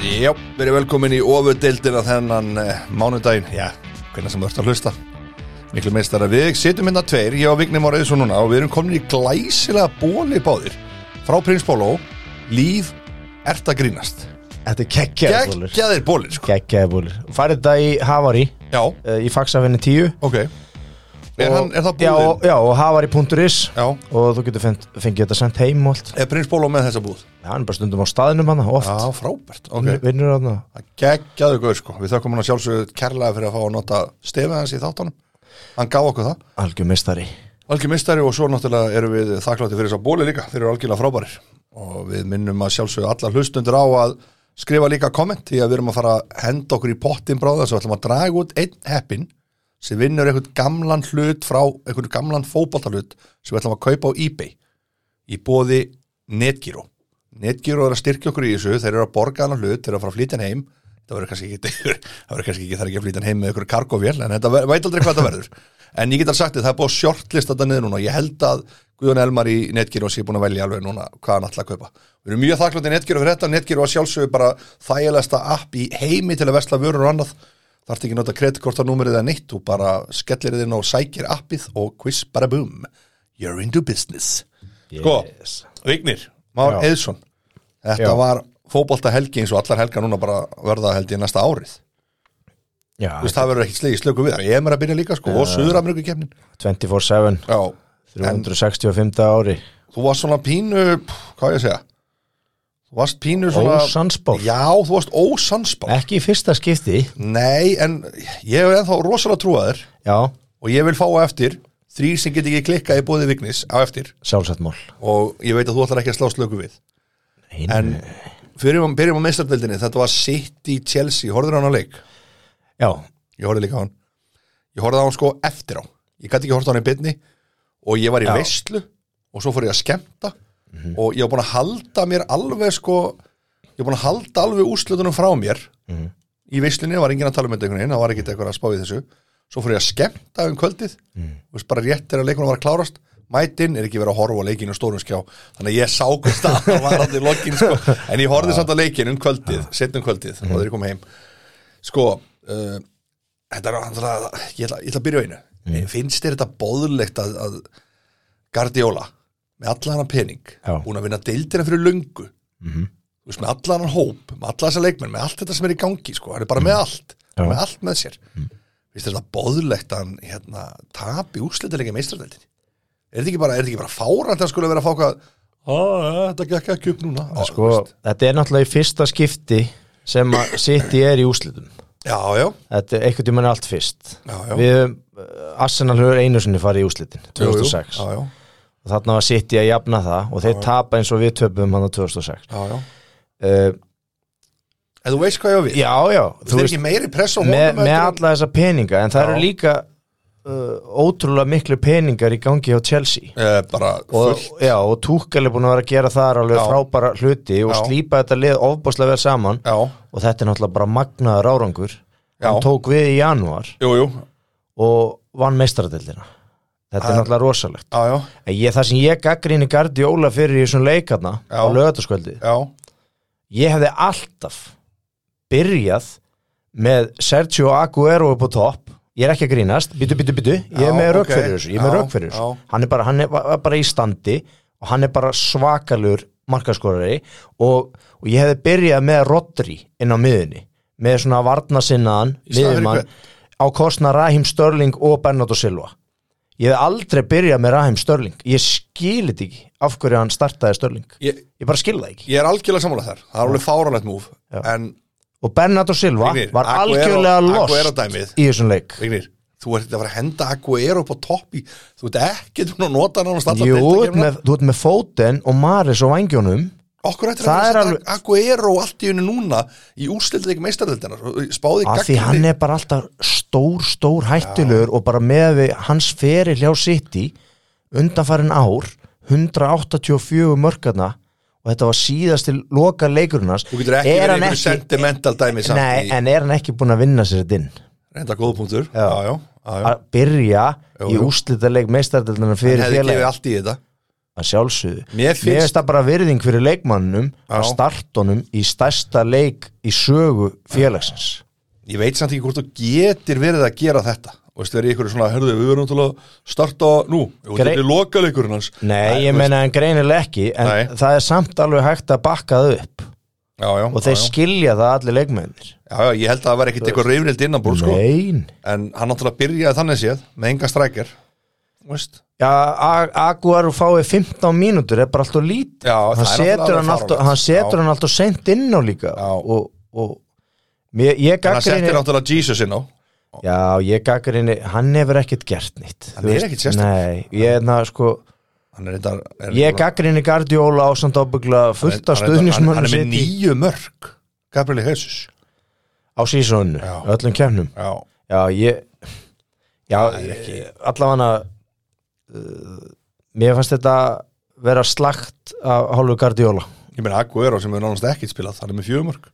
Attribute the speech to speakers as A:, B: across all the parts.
A: Já, verið velkomin í ofudeildina þennan uh, mánudaginn, já, hvernig sem þú ert að hlusta Miklu meistara, við sitjum hérna tveir, ég og Vigni Máriðsson núna og við erum komin í glæsilega bóli báðir frá Prins Bóló, líf ert að grínast
B: Þetta er kekkjaði búlur
A: Geggjaðir bólir, sko
B: Kekkjaði búlur Farið þetta í Havari
A: Já,
B: eh, Í faxafinni 10
A: ok Er, hann, er það
B: Já,
A: búðin?
B: já og havari.is
A: Já.
B: Og þú getur fengt, fengið þetta sendt heim og allt
A: Er Prins Bóló með þessa búð?
B: Já, hann er bara stundum á staðinum hann oft
A: Já, frábært, ok
B: Vinnur hann
A: Geggjaður guður, sko Við þökkum hann að sjálfsögðu kærlega fyrir að fá að nota stefið hans í þáttanum Hann gaf okkur það
B: Algjör mistari
A: Algjör mistari og svo náttúrulega erum við þakklátti fyrir þess að bóli líka, þeir eru algjörlega frábærir og við minnum að sjálfsögðu allar hlustundur á að skrifa líka komment því að við erum að fara að henda okkur í pottin bráða svo ætlum að draga út einn heppin sem vinnur einhvern gamlan hlut frá einhvern gamlan fótboltalut sem við ætlum að kaupa á eBay í bóði Netgyro Netgyro er að styrkja okkur í þessu, þeir eru að borga hann hlut, þeir eru að fara að flytja hann heim það verður kannski ekki, það verður kannski ekki það er ekki að flytja hann heim með ykkur karkovél en þetta ver- veit aldrei hvað þetta verður en ég get alveg sagt þið, það er búið að shortlist þetta niður núna ég held að Guðjón Elmar í Netgyro sé búin að velja alveg núna hvað hann ætla að kaupa við erum mjög þakklátt í Netgyro fyrir þetta Netgyro að sjálfsögðu bara þægilegasta app í heimi til að vesla vörur og annað þarf ekki að nota kreditkortanúmerið eða neitt þú bara skellir þið inn og sækir appið og quiz bara boom you're into business sko,
B: Yes.
A: Vignir, Már
B: Já.
A: Eðsson þetta
B: Já.
A: var fótbolta helgi eins og allar helgar núna bara verða held ég næsta árið
B: Já,
A: Þú veist, það verður ekki slegi slöku við ég er mér að byrja líka sko, og Suður-Ameríku
B: 24-7
A: já, en
B: 365 ári
A: þú varst svona pínu pff, hvað á ég að segja þú varst pínu svona
B: Ósansbór
A: já, þú varst ósansbár
B: Ekki í fyrsta skipti
A: nei, en ég er ennþá rosalega trúaður
B: Já,
A: og ég vil fá á eftir þrýr sem get ekki klikkað í bóði Vignis á eftir
B: sjálfsett mál
A: og ég veit að þú ætlar ekki að slá slöku við
B: Hinn-
A: en fyrir, um- byrjum á meistardöldinni þetta var City Chelsea, horfður hann á leik
B: Já,
A: ég horfði líka á hann ég horfði á hann sko eftir á ég gæti ekki horfði á hann í byrni og ég var í
B: Já.
A: veistlu og svo fór ég að skemmta og ég var búin að halda mér alveg sko ég var búin að halda alveg úrslutunum frá mér í veistlunni var enginn að tala um þetta einhvern veginn það var ekkit eitthvað að spá í þessu svo fór ég að skemmta um kvöldið og veist bara rétt þegar leikunum var að klárast mætinn er ekki verið að horfa á leikinu stórum skjá þannig að ég sá hvort að það var allir lokin sko. en ég horfði samt að leikinu um kvöldið setnum kvöldið og þeir kom heim sko, uh, þetta er náttúrulega, ég ætla, ég ætla að byrja á einu
B: Mm.
A: finnst þér þetta bóðulegt að, að Guardiola með allan hann pening,
B: Já. Mhm.
A: búin að vinna deildina fyrir lungu mm veist, með allan hann hóp, með allan þessa leikmenn með allt þetta sem er í gangi, sko, hann er bara með allt
B: Mm. Já. Mm.
A: með allt með sér finnst þér þetta bóðulegt að hann hérna, tapi úrslitalega meistradældin er þetta ekki bara, er þetta ekki bara fárand að skulle vera að fá hvað "Á, þetta gekk ekki upp núna Á,
B: sko,
A: veist.
B: þetta er náttúrulega í fyrsta skipti sem að City er í úslitum
A: já, já,
B: Þetta er einhvern tímann er allt fyrst
A: já, já,
B: Við höfum, uh, Arsenal höfur einu sinni farið í úslitin
A: Jú, jú.
B: 2006
A: já, já,
B: og þarna var City að jafna það og þeir tapa eins og við töpum hann á 2006
A: já, já.
B: uh,
A: En þú veist hvað ég á við?
B: Já, já,
A: Þú
B: þú
A: veist,
B: veist
A: ekki meiri press á honum
B: með,
A: heldur
B: með
A: en-
B: alla þessa peninga en það
A: Já.
B: eru líka uh, ótrúlega miklu peningar í gangi hjá Chelsea
A: Eh, bara
B: og,
A: fullt
B: já, og Túkkel er búin að vera að gera þar alveg
A: Já.
B: frábæra hluti og
A: Já.
B: slípa þetta lið ofbúslega vel saman
A: já,
B: og þetta er náttúrulega bara magnaður árangur
A: Já.
B: hann tók við í janúar
A: jú, jú,
B: og vann meistaradildina þetta er náttúrulega rosalegt
A: já, já,
B: En ég, það sem ég gaggrinni Gardióla fyrir í þessum leikarna
A: Já.
B: á lögataskvöldi
A: já
B: ég hefði alltaf byrjað með Sergio Aguero upp á topp ég er ekki að grínast, byttu, byttu, byttu ég
A: Já,
B: er með rauk
A: ok.
B: fyrir þessu, ég er með
A: Já,
B: rauk fyrir þessu
A: já.
B: hann er bara, hann er, var bara í standi og hann er bara svakalur markaskorari og, og ég hefði byrjað með Rodri inn á miðunni með svona varnasinnaðan
A: Í staðinn fyrir
B: miðjumann á kostna Rahim Störling og Bernardo Silva ég hefði aldrei byrjað með Rahim Störling ég skilit ekki af hverju hann startaði Störling
A: ég,
B: ég bara skil það ekki
A: ég er algjörlega sammála þar það er alveg fáranlegt múf
B: Já.
A: en,
B: og Bernardo Silva
A: Vignir,
B: var
A: Aguero-
B: algjörlega
A: Aguero
B: lost
A: dæmið.
B: í þessum leik
A: Vignir, þú ert að fara að henda Aguero upp á topp í þú ert ekki búin að nota hann og standa
B: Jú, þú ert með, þú ert með Foden og Maris og Vangjónum
A: okkur ættir
B: Það
A: að
B: er
A: vera að
B: alveg-
A: setja Aguero allt í unni núna í úrslitið ekki meistardöldina spáði
B: af því hann er bara alltaf stór, stór hættulegur og bara með við hans feri hljá City undanfarin ár 184 mörgarna og þetta var síðast til loka leikurinn hans
A: þú getur ekki verið einhverju sentimental dæmi samt
B: Nei,
A: í-
B: en er hann ekki búin að vinna sér þetta inn
A: reynda góðpunktur já, já, já, já.
B: að byrja
A: Jú,
B: í
A: jú.
B: úrslita leik meistardöldina
A: hann
B: fyrir
A: hefði gefið
B: félagi
A: allt í þetta
B: að
A: Mér
B: sjálfsögðu
A: finnst-
B: Mér finnst það bara virðing fyrir leikmannunum
A: Já.
B: á startunum í stærsta leik í sögu félagsins
A: ég veit samt ekki hvort þú getur verið að gera þetta og veist verið ykkur svona, hörðu, við verðum til að starta nú, og
B: Grei-
A: þetta er lokaleikurinn hans
B: Nei, ég
A: þú
B: meina en greinilega ekki en
A: Nei.
B: það er samt alveg hægt að bakka það upp
A: veist, já, já,
B: og þeir
A: já, já.
B: skilja það allir leikmennir
A: já, já, ég held að það var ekkit eitthvað reyfnild innanbúr sko.
B: Nein
A: en hann náttúrulega byrjaði þannig séð með enga strækir veist
B: Já, A- Aguar fáið 15 mínútur er bara alltaf lítið
A: Já, það
B: hann
A: er
B: setur,
A: náttúrulega
B: hann alltaf,
A: fáránlegt.
B: hann setur
A: Já.
B: hann alltaf seint inn á líka
A: Já.
B: og, og mér,
A: en
B: ég
A: hann
B: gaggrinni
A: setti náttúrulega Jesus inn á
B: Já, ég gaggrinni, hann hefur ekkert gert nýtt
A: Hann er ekkert sérstakur.
B: Nei, ég, na, sko,
A: hann er reyndar er
B: ég gaggrinni Gardiola á samt ábyggla fullt af
A: Hann er- hann- hann
B: stuðnismönnum
A: er með
B: sitt
A: nýju mörg Gabriel Jesus
B: á sísónu,
A: Já.
B: öllum kemnum
A: já,
B: Já, ég Já,
A: Það er ekki-
B: allavega uh, mér fannst þetta vera slagt af hálfu Guardiola
A: ég meina Aguero sem er nánast ekkit spilað hann er með fjögur mörg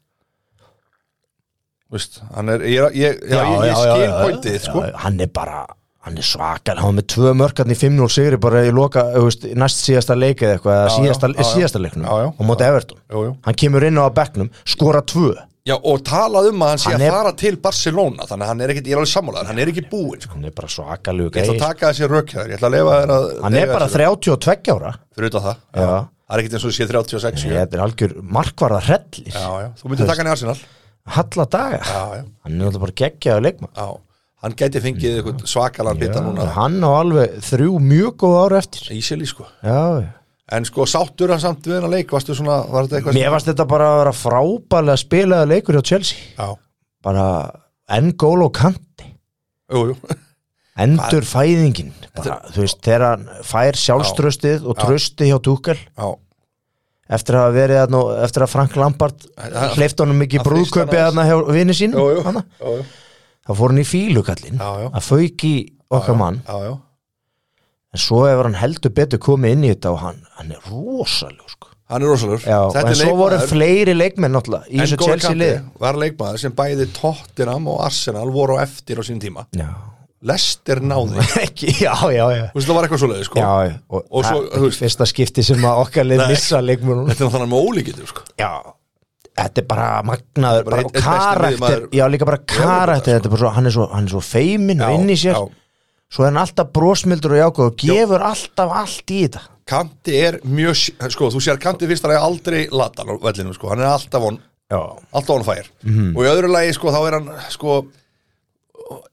A: veist, hann er ég, ég, ég, já, ég, ég skil pointið sko.
B: já, Hann er bara, hann er svakar hann var með tvö mörkarn í 5-0 sigri bara í loka, þú veist, næst síðasta leik eða eitthvað, eða
A: Já,
B: síðasta,
A: já, já, já.
B: síðasta leiknum
A: Já, já.
B: á móti Everton
A: Jú, jú.
B: Hann kemur inn á bekknum, skora tvö
A: Já, og talað um að hann sé
B: Hann
A: að
B: er-
A: fara til Barcelona þannig að hann er ekkit, ég er alveg sammálaður, hann er ekki búinn sko.
B: Hann er bara svakalegu
A: ég ætla
B: gæi. sko.
A: að taka þessi rökjaður, ég ætla að leifa þér að
B: Hann er bara 32 ára
A: fyrir utan það, já.
B: Já.
A: það er ekkit eins og sé 36
B: Nei,
A: já,
B: Þetta er algjör markvarða hrellir
A: já, þú myndir taka hann í Arsenal já,
B: Halla daga
A: já,
B: Hann er alltaf bara geggjaðu leikmann
A: já, hann gæti fengið eitthvað svakalan bita núna,
B: hann á alveg þrjú mjög góð ára eftir
A: ísili sko
B: já, já.
A: en sko sáttur hann samt við hennar leik, varstu svona var þetta eitthvað
B: mér varst þetta bara að vera frábælega spilaða leikur hjá Chelsea
A: já,
B: bara enn gól og kanti
A: jú, jú,
B: endur fæðingin bara, þú veist, þegar hann fær sjálfströstið og trösti hjá Tuchel
A: já
B: eftir að hafa verið þarna og- eftir að Frank Lampard
A: Hann-
B: hleyft honum mikið
A: hann þrýsti hann
B: brúðköpi
A: aðeins.
B: þarna hjá vini
A: Jú, jú,
B: sínum
A: jú,
B: þarna.
A: jú,
B: þá fór hann í fílukallin
A: Já, já.
B: að fauki okkar mann
A: já, já,
B: en svo hefur hann heldur betur komið inn í þetta og hann, hann er rosaleg sko
A: hann er rosalur
B: Já, en svo voru fleiri leikmenn náttúrulega í þessu Chelsea lið
A: var leikmaður sem bæði Tottenham og Arsenal voru á eftir á sín tíma
B: Já,
A: Lester náði
B: ekki, já, já, já,
A: Þú veist, það var eitthvað svoleiði, sko.
B: já og,
A: Og svo, þú
B: það er ekki
A: veist-
B: fyrsta skipti sem að okkar lið
A: Nei.
B: missa leikmennum
A: Þetta er náttúrulega með ólíkitur, sko.
B: Já, þetta er bara magnaður, bara
A: einn- einn besti
B: karakter
A: miðjumaður-
B: Já, líka bara
A: sko.
B: karakter, þetta er bara svo hann er svo, hann er svo feimin og inn í sér svo er hann alltaf brosmildur og jákvæð og gefur alltaf allt í þetta
A: Kanti er mjög, s- sko, þú sér Kanti fyrst að það er aldrei latan á vellinu, sko. Hann er alltaf on,
B: Já,
A: alltaf on fire.
B: Mhm.
A: Og í öðru lagi, sko, þá er hann, sko,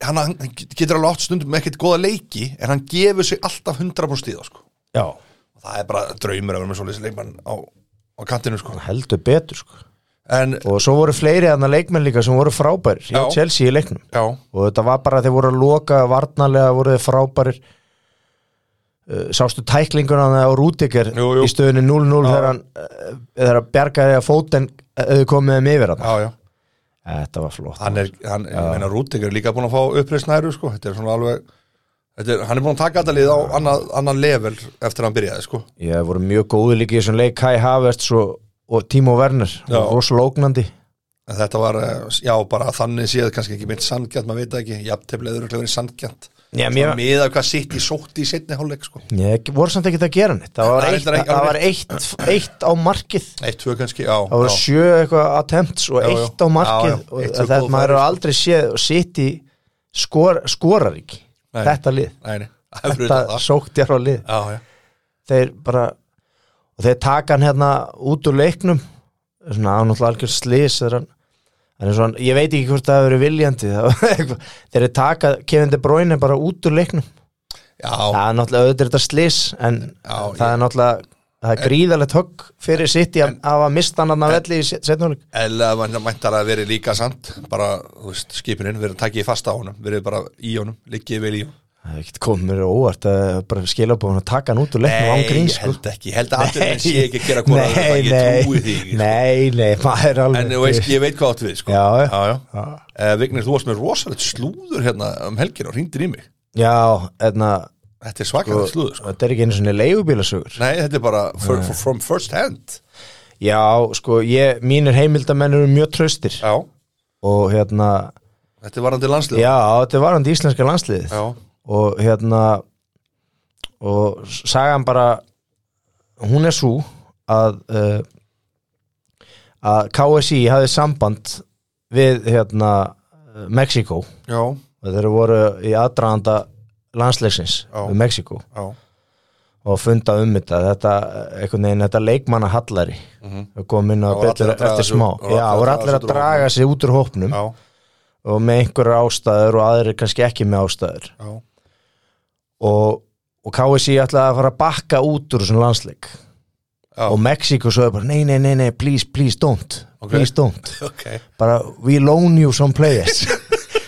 A: hann hann getur alveg átt stundum með ekkert góða leiki, en hann gefur sig alltaf 100% stíða, sko.
B: já,
A: Það er bara draumur að vera með svoleiðis leikmann á, á kantinu, sko.
B: heldur betur sko
A: En,
B: og svo voru fleiri aðna leikmenn líka sem voru frábærir hjá
A: Já.
B: Chelsea í leiknum
A: já,
B: og þetta var bara að þeir voru að loka varnarlega voru þeir frábærir Uh, sástu tæklinguna á Rúdikir
A: Jú, jú.
B: í stöðunni 0-0 þegar hann uh, þegar hann bjargaði að fóten eða komið þeim yfir hann
A: já, já.
B: þetta var flott
A: hann er, hann, ég meina Rúdingur er líka búin að fá uppreisnæru sko, þetta er svona alveg þetta er, hann er búin að taka þetta lið á annan, annan level eftir að hann byrjaði sko
B: ég voru mjög góði líka í þessum leik Kai Havertz og, og Timo Werner
A: Já.
B: rosalega ógnandi
A: en þetta var, eh, já bara þannig séð kannski ekki mynd sandgjant, maður veit það ekki jafntefnilegur ekki verið sandgjant
B: Já, mér-
A: miða hvað sitt í sótti í setni hálfleik sko
B: ég voru samt ekkert að gera nýtt það var
A: Nei,
B: eitt,
A: reyndar ekki
B: það
A: alveg.
B: var eitt, eitt á markið
A: eitt, tvö kannski, já,
B: það voru
A: já,
B: sjö eitthvað attempts og
A: Já, já.
B: eitt á markið
A: Já, já. Eitt
B: og
A: svo
B: þetta
A: góð
B: maður
A: færi, sko.
B: eru aldrei séð og sitt í skor, skorar ekki
A: Nei.
B: þetta lið,
A: næni, það er fyrir
B: þetta
A: það
B: sóktjar á lið
A: já, já,
B: þeir bara og þeir taka hann hérna út úr leiknum svona ánáttúrulega algjör slis þegar hann hann er svona, ég veit ekki hvort það hefur verið viljandi það var eitthvað. þeir eru taka Kevin De Bruyne bara út úr leiknum
A: já,
B: það er náttúrulega auðvitað er þetta slis en
A: Já,
B: það er náttúrulega það er gríðalegt högg fyrir sitt í að hafa mista hann að velli í setnum
A: eða mann mæntar að veri líka sand bara, þú veist, skipinin, verið takkið fast á honum verið bara í honum, liggið vel í honum
B: Það er ekkert komið mér á óvart að bara skila búin að taka hann út úr leiknum án
A: ég
B: grín sko.
A: held ekki, ég held að allir sé ekki að gera hvora
B: Nei,
A: þetta,
B: nei.
A: ég trúi því ekki, sko.
B: Nei, nei, maður er alveg
A: En þú veist, ég veit hvað áttu við, sko.
B: Já, já.
A: já. já. Eh, Vignir, þú varst með rosalegt slúður hérna um helgin og hringdir í mig.
B: Já, etna,
A: Þetta er svakalegt slúður, sko.
B: þetta er ekki einu svona leigubílasögur
A: Nei, þetta er bara for,
B: Eh.
A: for, from first hand.
B: Já, sko, ég, mínir heimildamenn eru mjög traustir
A: Já.
B: og hérna,
A: Þetta er varandi landslið.
B: já, þetta er varandi íslenska landsliðið
A: Já.
B: og hérna og sagan bara hún er svo að uh, að KSI hafði samband við hérna Mexiko
A: já,
B: þeir voru í aðdraðanda landsleiksins
A: Já.
B: við Mexiko
A: já,
B: og funda um þetta þetta, einhvern veginn, þetta leikmanna hallari
A: Mhm.
B: og kom inn á
A: Það voru
B: betur
A: allir að draga
B: eftir
A: sig-
B: smá
A: það voru
B: já,
A: allir að
B: og
A: draga sig út úr
B: allir að draga sig út úr hópnum
A: já,
B: og með einhverja ástæður og aðrir kannski ekki með ástæður
A: já,
B: og, og KSI ætlaði að fara að bakka út úr þessum landsleik
A: Já.
B: og Mexiko sögðu bara nei, nei, nei, nei, please, please don't
A: Ok.
B: please don't,
A: ok
B: bara we loan you some players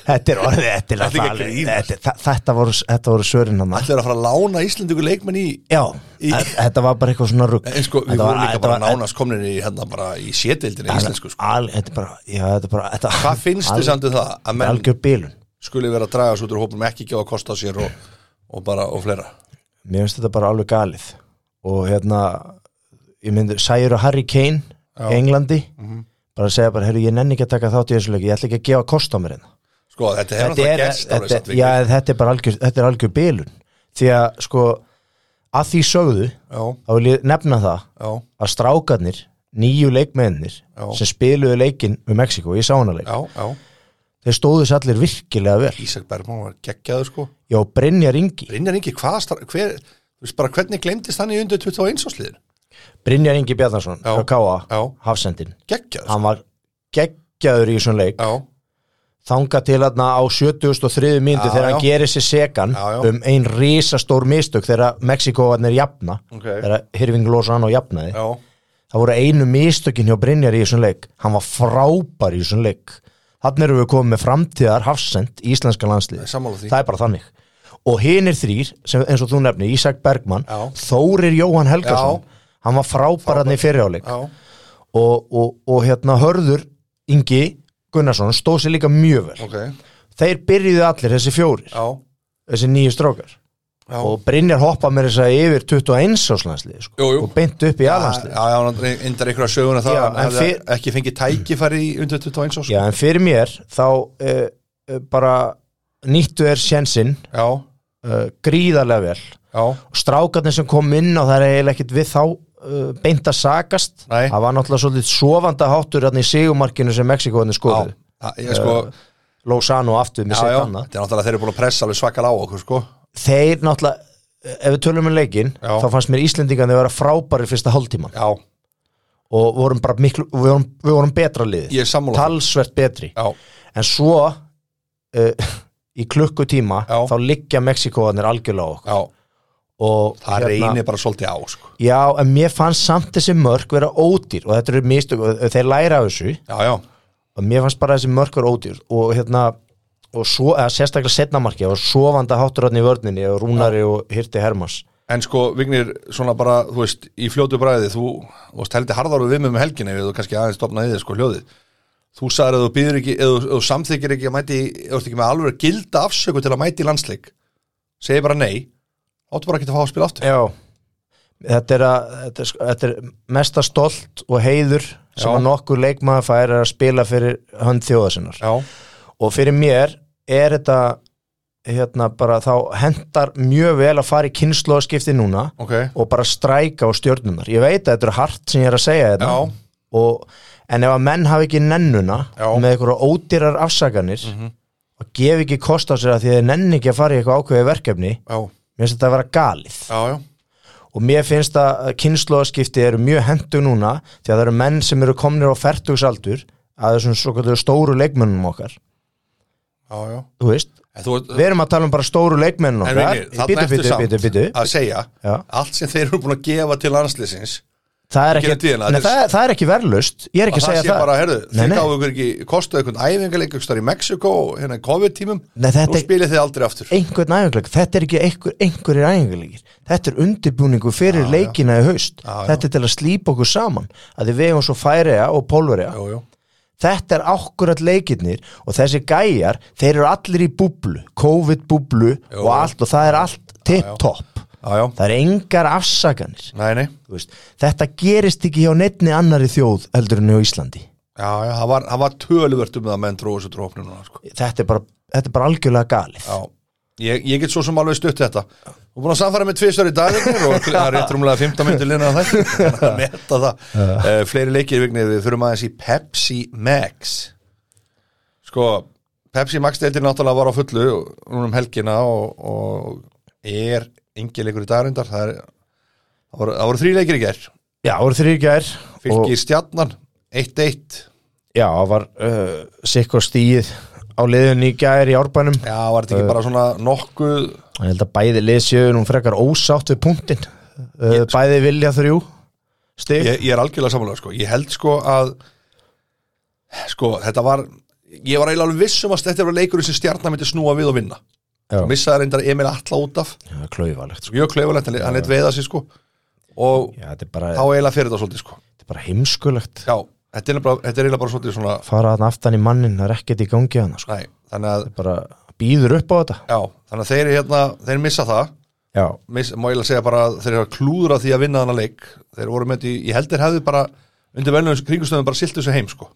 B: þetta er orðið, þetta er
A: Þetta er ekki að
B: alveg-
A: grínast.
B: þetta, þa- þetta voru, þetta voru sörin hann
A: Ætlaðu að fara að lána Íslandingu leikmenn í
B: já,
A: Í-
B: þe- þetta var bara eitthvað svona rugg
A: En sko, við
B: Þetta var-
A: vorum líka
B: þetta
A: bara
B: var-
A: nánast komnir í hérna bara í sétildinu í íslensku sko.
B: al, þetta er bara, já, þetta er bara þetta,
A: Hvað finnst þið samt um það að menn
B: algjör bilun
A: skuli vera að draga svo út úr hópum ekki ekki á að kosta sér og, og bara og fleira
B: mér finnst þetta bara alveg galið og hérna ég myndi, sæjur og Harry Kane
A: Já. Mhm.
B: í Englandi bara að segja bara, heyrðu, ég nenni ekki að taka þátt í þessu leiki ég ætla ekki að gefa kost á mér hérna
A: Sko, þetta hefur
B: þetta er,
A: náttúrulega gerst alveg samt
B: þetta, já,
A: vikið
B: þetta er bara algjör, þetta er algjör bilun því að, sko, að því sögðu
A: Já,
B: þá vil ég nefna það
A: já,
B: að strákarnir, nýju leikmennir
A: Já.
B: sem spiluðu leikinn við Mexiko, ég sá hana leik
A: já, já
B: þeir stóðu sér allir virkilega vel
A: Ísak Bergman var geggjaður sko
B: já, Brynjar Ingi
A: Brynjar Ingi, hvað star- hver, þú veist bara hvernig glemdist hann í undir 21 ásliðin
B: Brynjar Ingi Bjarnarsson,
A: Já.
B: frá K.A.
A: Já,
B: Hafsendin,
A: geggjaður sko.
B: hann var geggjaður í þessum leik
A: Já,
B: þanga til þarna á 73. myndi
A: Já,
B: þegar hann
A: já.
B: gerir sér sekan
A: Já, já.
B: um ein risastór mistök þegar Mexikovarnir jafna
A: ok,
B: þegar Hirving Lozano jafnaði
A: já
B: það voru einu mistökin hjá Brynjar í þessum leik hann var frábær í þessum leik þannig erum við komið með framtíðar hafsend í íslenska landslið,
A: Sammála því
B: það er bara þannig og hinir þrýr, sem, eins og þú nefni Ísak Bergmann,
A: Já.
B: Þórir Jóhann Helgason hann var frábær hann í fyrirjáleik
A: Já,
B: og, og, og hérna Hörður Ingi Gunnarsson stóð sér líka mjög vel
A: ok,
B: þeir byrjuðu allir þessi fjórir
A: já,
B: þessi nýju strókar
A: já
B: og Brynjar hoppa með þess að yfir 21 áslansli sko,
A: Jú, jú.
B: og beint upp í
A: Já,
B: aðlansli
A: já, já, hann endar einhverja söguna það
B: Já,
A: hann
B: en
A: hefði
B: fyr-
A: ekki fengið tækifæri í undir 21 árs
B: já en fyrir mér þá uh, uh, bara nýttu er sjensinn
A: já,
B: uh, gríðarlega vel
A: já,
B: og strákarnir sem kom inn og það er eiginlega ekkit við þá uh, beint að sakast
A: Nei.
B: það var náttúrulega svolítið sofanda háttur hann í sigumarkinu sem Mexikoðinni
A: já,
B: skoðu
A: já ég sko
B: Lósano aftur
A: já,
B: með
A: já,
B: sitt Eh, annað
A: þetta er náttúrulega þeir eru búin að pressa alveg svakal á okkur sko
B: þeir náttúrulega ef við tölum um leikin,
A: Já.
B: þá fannst mér Íslendingan að vera frábæri fyrsta hálftíman
A: já,
B: og vorum bara miklu, við vorum, við vorum betra liðið,
A: ég er sammála
B: talsvert
A: því.
B: betri
A: já,
B: en svo uh, í klukkutíma
A: Já.
B: þá liggja Mexikoðanir algjörlega á okkur
A: já,
B: og hérna,
A: það reynir bara svolítið á sko
B: já, en mér fannst samt þessi mörk vera ódýr og þetta eru mistök, og þeir læra af þessu
A: já, já,
B: og mér fannst bara þessi mörk vera ódýr og hérna og svo, eða sérstaklega setnamarki og sovanda háttur hann í vörninni og Rúnari og Hirti Hermans
A: en sko Vignir, svona bara, þú veist í fljótu bræði, þú, þú veist, heldur harðar við mig um helginni, við þú kannski aðeins stopnaði þið sko hljóðið, þú sagðir að þú býður ekki eða þú- ef þú samþykir ekki að mæti, þú ert ekki með alveg gilda afsöku til að mæti í landsleik segi bara nei, áttu bara ekki að fá að spila aftur
B: Já Þetta er, að, þetta, er, sko- þetta er mesta stolt og heiður sem
A: Já.
B: að nokkur leikmaður fær er að spila fyrir hönd þjóðasinnar
A: já,
B: og fyrir mér er þetta hérna bara þá hendar mjög vel að fara í kynnslóðskipti núna
A: ok,
B: og bara stræka á stjórnunar ég veit að þetta er hart sem ég er að segja
A: já,
B: þetta og, en ef að menn hafi ekki nennuna
A: Já. Mhm.
B: með einhverja ódýrar afsakanir og gefi ekki kost á sér að því að þeir nenni ekki að fara í eitthvað ákveði verkefni
A: já,
B: mér finnst þetta að vera galið
A: já, já
B: og mér finnst að kynnslóðaskipti eru mjög hendu núna því að það eru menn sem eru komnir á fertugsaldur að þessum svokallu stóru leikmennum okkar
A: Já, já.
B: þú veist,
A: En þú,
B: við erum að tala um bara stóru leikmennum
A: en
B: okkar
A: Reynir, þannig
B: bítu,
A: ertu
B: bítu,
A: samt
B: bítu, bítu
A: að segja
B: Já.
A: allt sem þeir eru búin að gefa til landslýsins
B: það er ekki,
A: Gegnum tíðina,
B: nei,
A: þetta
B: það,
A: er-
B: er, það er ekki verðlust ég er
A: að
B: ekki að
A: það
B: segja
A: sé
B: það
A: bara, herðu,
B: Nei,
A: þeir
B: nei.
A: gáðu ykkur ekki kostaðu einhvern æfingarleik ykkur í Mexiko hérna í COVID-tímum,
B: Nei, þetta
A: nú
B: er-
A: spilið þið aldrei aftur
B: einhvern æfingarleik, þetta er ekki einhver, einhverjir æfingarleikir, þetta er undirbúningu fyrir leikina í haust
A: Já, já.
B: þetta er til að slípa okkur saman að við vegum svo færiða og pólveriða
A: Jú, jú,
B: þetta er akkurat leikirnir og þessi gæjar, þeir eru allir í búblu COVID-búblu og allt og það er allt tip-top
A: já, já,
B: það er engar afsakanir
A: nei, nei
B: Þú veist, þetta gerist ekki hjá neittni annari þjóð heldur en hjá Íslandi
A: já, já, það var, það var töluvert um það að menn dróðu svo drófnum núna, sko.
B: þetta er bara, þetta er bara algjörlega galið
A: já, Ég, ég get svo sem alveg stutt þetta og búin að samfæra með tvisar í dag Vignir, og það er rétt rúmlega 15 myndir lina það að metta það uh, fleiri leikir vignir, við þurfum aðeins í Pepsi Max sko Pepsi Max deildir náttúrulega var á fullu núna um helgina og, og er engi leikur í dagrindar það, er, það voru, það voru þrý leikir í ger
B: Já, það voru þrýr gær og
A: fylgir stjarnan 1-1
B: já, það var uh, sikko stíð á liðun í gær í árbænum
A: Já, var þetta ekki bara svona nokkuð
B: Ég held að bæði lið séu nú frekar ósátt við punktin uh, Bæði vilja þrjú stig
A: ég, ég er algjörlega samanlega sko. ég held sko að sko, þetta var ég var eiginlega alveg viss um að þetta var leikur sem stjarnar myndi snúa við og vinna
B: Já.
A: missaði reyndar Emil Atla út af
B: Já, klauvalegt sko.
A: mjög kleifulegt, hann- hann leitt veiða sig sko og
B: Já, þetta er bara,
A: þá eiginlega fyrir þetta svolítið sko
B: þetta er bara heimskulegt
A: já, þetta er eiginlega- þetta er eiginlega bara svolítið svona
B: Fara þarna aftan í mannin, það er ekkert í gangi hana sko.
A: næ, þannig að,
B: Bara býður upp á þetta
A: já, þannig að þeir hérna, þeir missa það
B: Já,
A: miss, má eiginlega segja bara að þeir hafa klúðra því að vinna þannig leik, þeir voru með því ég held þeir hefði bara, undir velnum kringustöðum bara silt þessu heim sko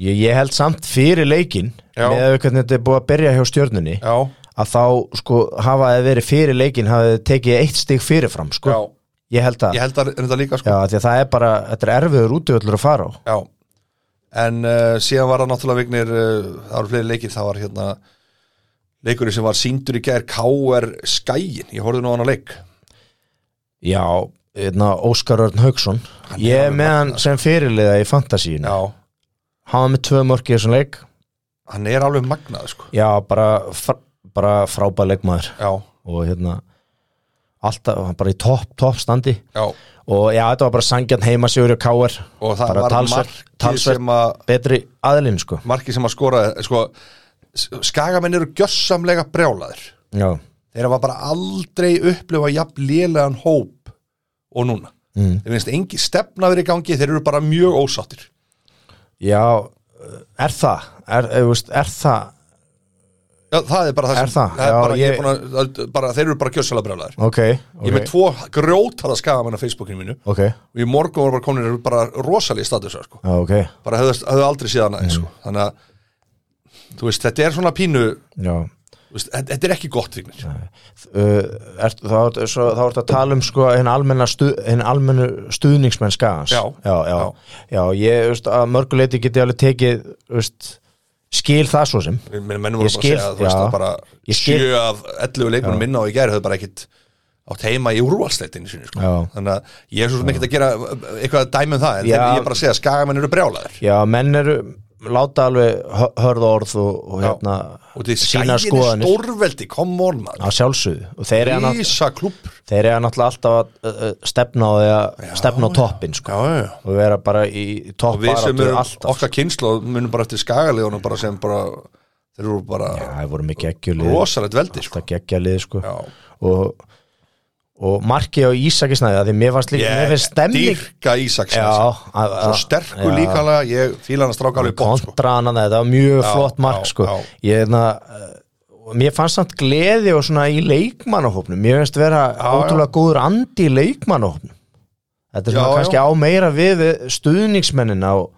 B: ég, ég held samt fyrir leikin
A: Já.
B: með að hvernig þetta er búið að byrja hjá stjörnunni
A: já,
B: að þá sko hafa þið verið fyrir leikin hafa þið tekið eitt stig fyrirfram sko.
A: já,
B: ég held að,
A: ég held að reynda líka sko
B: Já, af því að það er bara, þetta er erfiður útöðlur að fara á
A: Já, en uh, síðan var það náttúrulega vignir, uh, það var fleiri leikir, það var hérna leikurinn sem var síndur í gær K.R. Skæin, ég horfði nú á hann að leik
B: Já, hérna, Óskar Örn Hauksson Ég er
A: alveg
B: með hann sem fyrirliða í fantasíinu
A: Já,
B: Hann var með tvö mörk í þessum leik
A: hann er alveg magnað sko
B: Já, bara, fr- bara frábæð leikmaður
A: Já,
B: og hérna alltaf, hann bara í topp, topp standi
A: já,
B: og já, þetta var bara sangjarn heima sigur og káar
A: og það
B: Bara
A: var
B: talsvert-
A: markið
B: talsvert-
A: sem að
B: betri aðlinn sko
A: markið sem að skora, sko S- skagamenn eru gjössamlega brjálaðir
B: Já,
A: þeir hafa bara aldrei upplifa jafn lélegan hóp og núna
B: mm.
A: þeir finnst engi stefna verið í gangi, þeir eru bara mjög ósáttir
B: já eh, er það, er, er, veist, er það
A: Já, það er bara það
B: Er
A: sem
B: það?
A: er
B: Já,
A: bara, ég...
B: ég-
A: ég er búin að, bara, þeir eru bara gjössalega brjálæðir
B: Ok, ok,
A: Ég er með tvo grjótala skagamenn á Facebookinu mínu
B: ok, já,
A: og í morgun voru bara komin eru bara rosalegi statusar sko.
B: ok
A: bara hefðu, hefðu aldrei síðan aðeins
B: Mm.
A: sko. þannig að þú veist, þetta er svona pínu þú
B: Já,
A: veist, þetta þetta er ekki gott vignir
B: uh, er, þá, ertu- svo, þá ertu að tala um sko hinn almenna stu, hinn almennu stuðningsmenn skagans
A: Já,
B: já, já, já. ég, veist, að mörguleiti geti alveg tekið veist, skil það svo sem
A: Ég meina, menn voru
B: Ég
A: bara að
B: skil,
A: segja að þú veist
B: já.
A: að bara
B: Ég skil.
A: sjö af 11 leikmenn minna og í gær hefðu bara ekkit átt heima í úrvalsleitinu sinni sko.
B: Já.
A: þannig að ég er svo sem ekkert að gera uh, eitthvað að dæmi um það, en
B: Já.
A: þeir, ég er bara að segja að skagamenn eru brjálæðir
B: já, menn eru láta alveg hö- hörð orð og,
A: Já.
B: og hérna
A: og því skæin
B: sína
A: er
B: skoðanir
A: stórveldi, come on man
B: á sjálfsögðu og þeir eru nátt-
A: Ísa klúppur
B: þeir eru náttúrulega alltaf að uh, uh, stefna á því að stefna á toppin sko
A: Já, já, já
B: og vera bara í
A: og við sem
B: toppbaratu
A: erum
B: alltaf sko.
A: okkar kynslu munum bara eftir skagalegunum bara sem bara þeir eru bara
B: Já, það voru mikið ekki
A: rosalegt veldi sko.
B: alltaf geggja liði sko
A: Já.
B: og, og markið á Ísakisnæði því mér fannst líka, mér finnst stemning
A: dýrka Ísaks
B: já,
A: svo
B: að- að-
A: sterkur
B: já,
A: líkalega ég fíla hann að stráka alveg bótt sko.
B: kontra hann að þetta var mjög flott mark
A: já,
B: sko
A: já.
B: ég hefna mér fannst samt gleði og svona í leikmannahópnum mér finnst vera ótrúlega góður andi í leikmannahópnum þetta er svona
A: Já,
B: kannski á meira við við stuðningsmennina og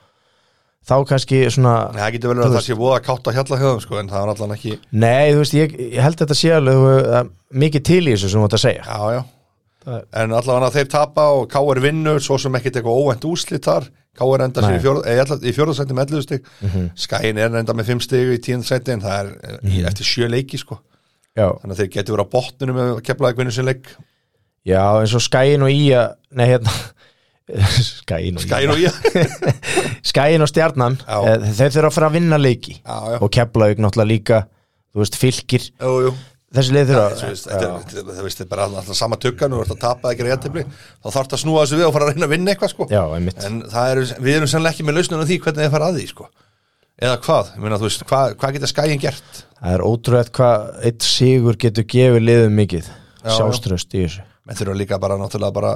B: þá kannski svona
A: Nei, það getur vel verið að það sé voða að káta hjalla höfum sko, en það er allan ekki já,
B: nei, þú veist, ég, ég held þetta sé alveg uh, mikið til í þessu sem þú ætti að segja
A: já. en allan að þeir tapa og K.R. vinnur svo sem ekkit eitthvað óvænt úslit þar K.R. enda sér
B: Nei.
A: í fjórð- eh, í alla- í fjórðarsætti með 11 stig
B: Mhm,
A: Skæin er enda með 5 stig í tíðarsætti en það er eh, í, eftir sjö leiki sko.
B: já,
A: þannig að þeir getur verið á botninu með keflaðið vinnur sinleik
B: já eins og skæin og ía nei, hérna skæin og
A: Skæin og ég
B: Skæin og Stjarnan
A: Já.
B: eh, þeir þurfa að fara að vinna leiki
A: Já, já.
B: og Keflavík náttúrulega líka þú veist, fylgir,
A: Jú, jú
B: þessi leið
A: Þú
B: þurfa
A: veist, þetta er- þetta er- þú veist, þetta er bara alltaf sama tökkan og þú ert að tapa ekki reyðtefli þá þarf það að snúa þessu við og fara að reyna að vinna eitthvað sko.
B: Já, einmitt.
A: en það eru, við erum sannlega ekki með lausnum á því hvernig þið fara að því sko. eða hvað, ég meina þú veist, hvað, hvað geta skæin gert
B: það er ótrúlega hvað eitt sigur getur gefið liðum mikið
A: já.
B: sjálfströst í þessu
A: menn þeir eru líka bara náttúrulega bara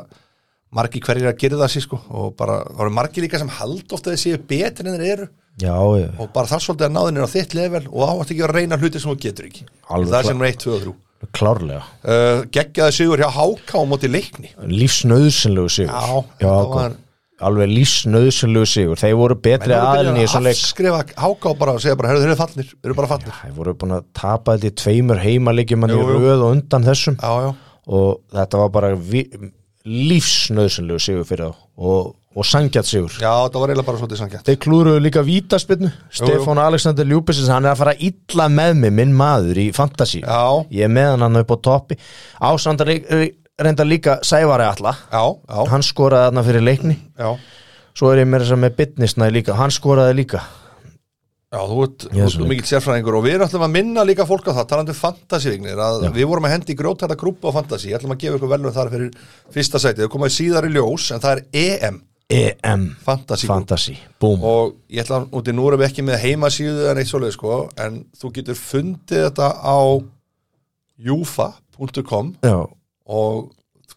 A: margi hverjir að gera það sér sko. og bara, það eru margi líka sem hald ofta þeir séu betur en þeir eru
B: já, já,
A: og bara þar svolítið að náðin er á þitt level og áhætt ekki að reyna hluti sem þú getur ekki
B: Alveg
A: það er
B: klart.
A: sem er 1, 2 og 3
B: klárlega
A: Eh, uh, geggjaði sigur hjá Háká á móti leikni
B: lífsnauðsynlegu sigur
A: Já,
B: já,
A: þetta
B: var...
A: var
B: alveg lífsnöðsynlegu sigur þeir voru betri aðlinni í þessum leik
A: Skrifa háká bara og segja bara, herru, þeir eru fallnir, þeir eru bara fallnir
B: þeir voru búin að tapa þetta í tveimur heimaleikjum mann í
A: Jú, jú.
B: röð og undan þessum
A: Já, já,
B: og þetta var bara vi- lífsnöðsynlegu sigur fyrir þá og, og sangjart sigur
A: já, það var eiginlega bara svolítið sangjætt
B: þeir klúruðu líka vítaspinnu Stefán Alexander Ljúbisins, hann er að fara illa með mig minn maður í Fantasí
A: Já,
B: ég er með hann hann upp á toppi ásandar reynda líka Sævari alla
A: já, já,
B: hann skoraði þarna fyrir leikni
A: já
B: svo er ég meira sem með bitnisnæði líka hann skoraði líka
A: Já, þú ert, þú
B: Yes,
A: ert
B: Luke.
A: mikill sérfræðingur og við ætlum að minna líka fólk á það, talandi um fantasívignir að við vorum að hendi í grjótæta grúpa á fantasí ætlum að gefa ykkur velum þar fyrir fyrsta sæti þau komaði síðar í ljós, en það er E EM
B: EM
A: fantasí grúpa
B: Fantasí, E búm
A: og ég ætla að, úti nú erum við ekki með heimasíðu en eitt svoleið sko, en þú getur fundið þetta á jufa.com
B: Já.
A: og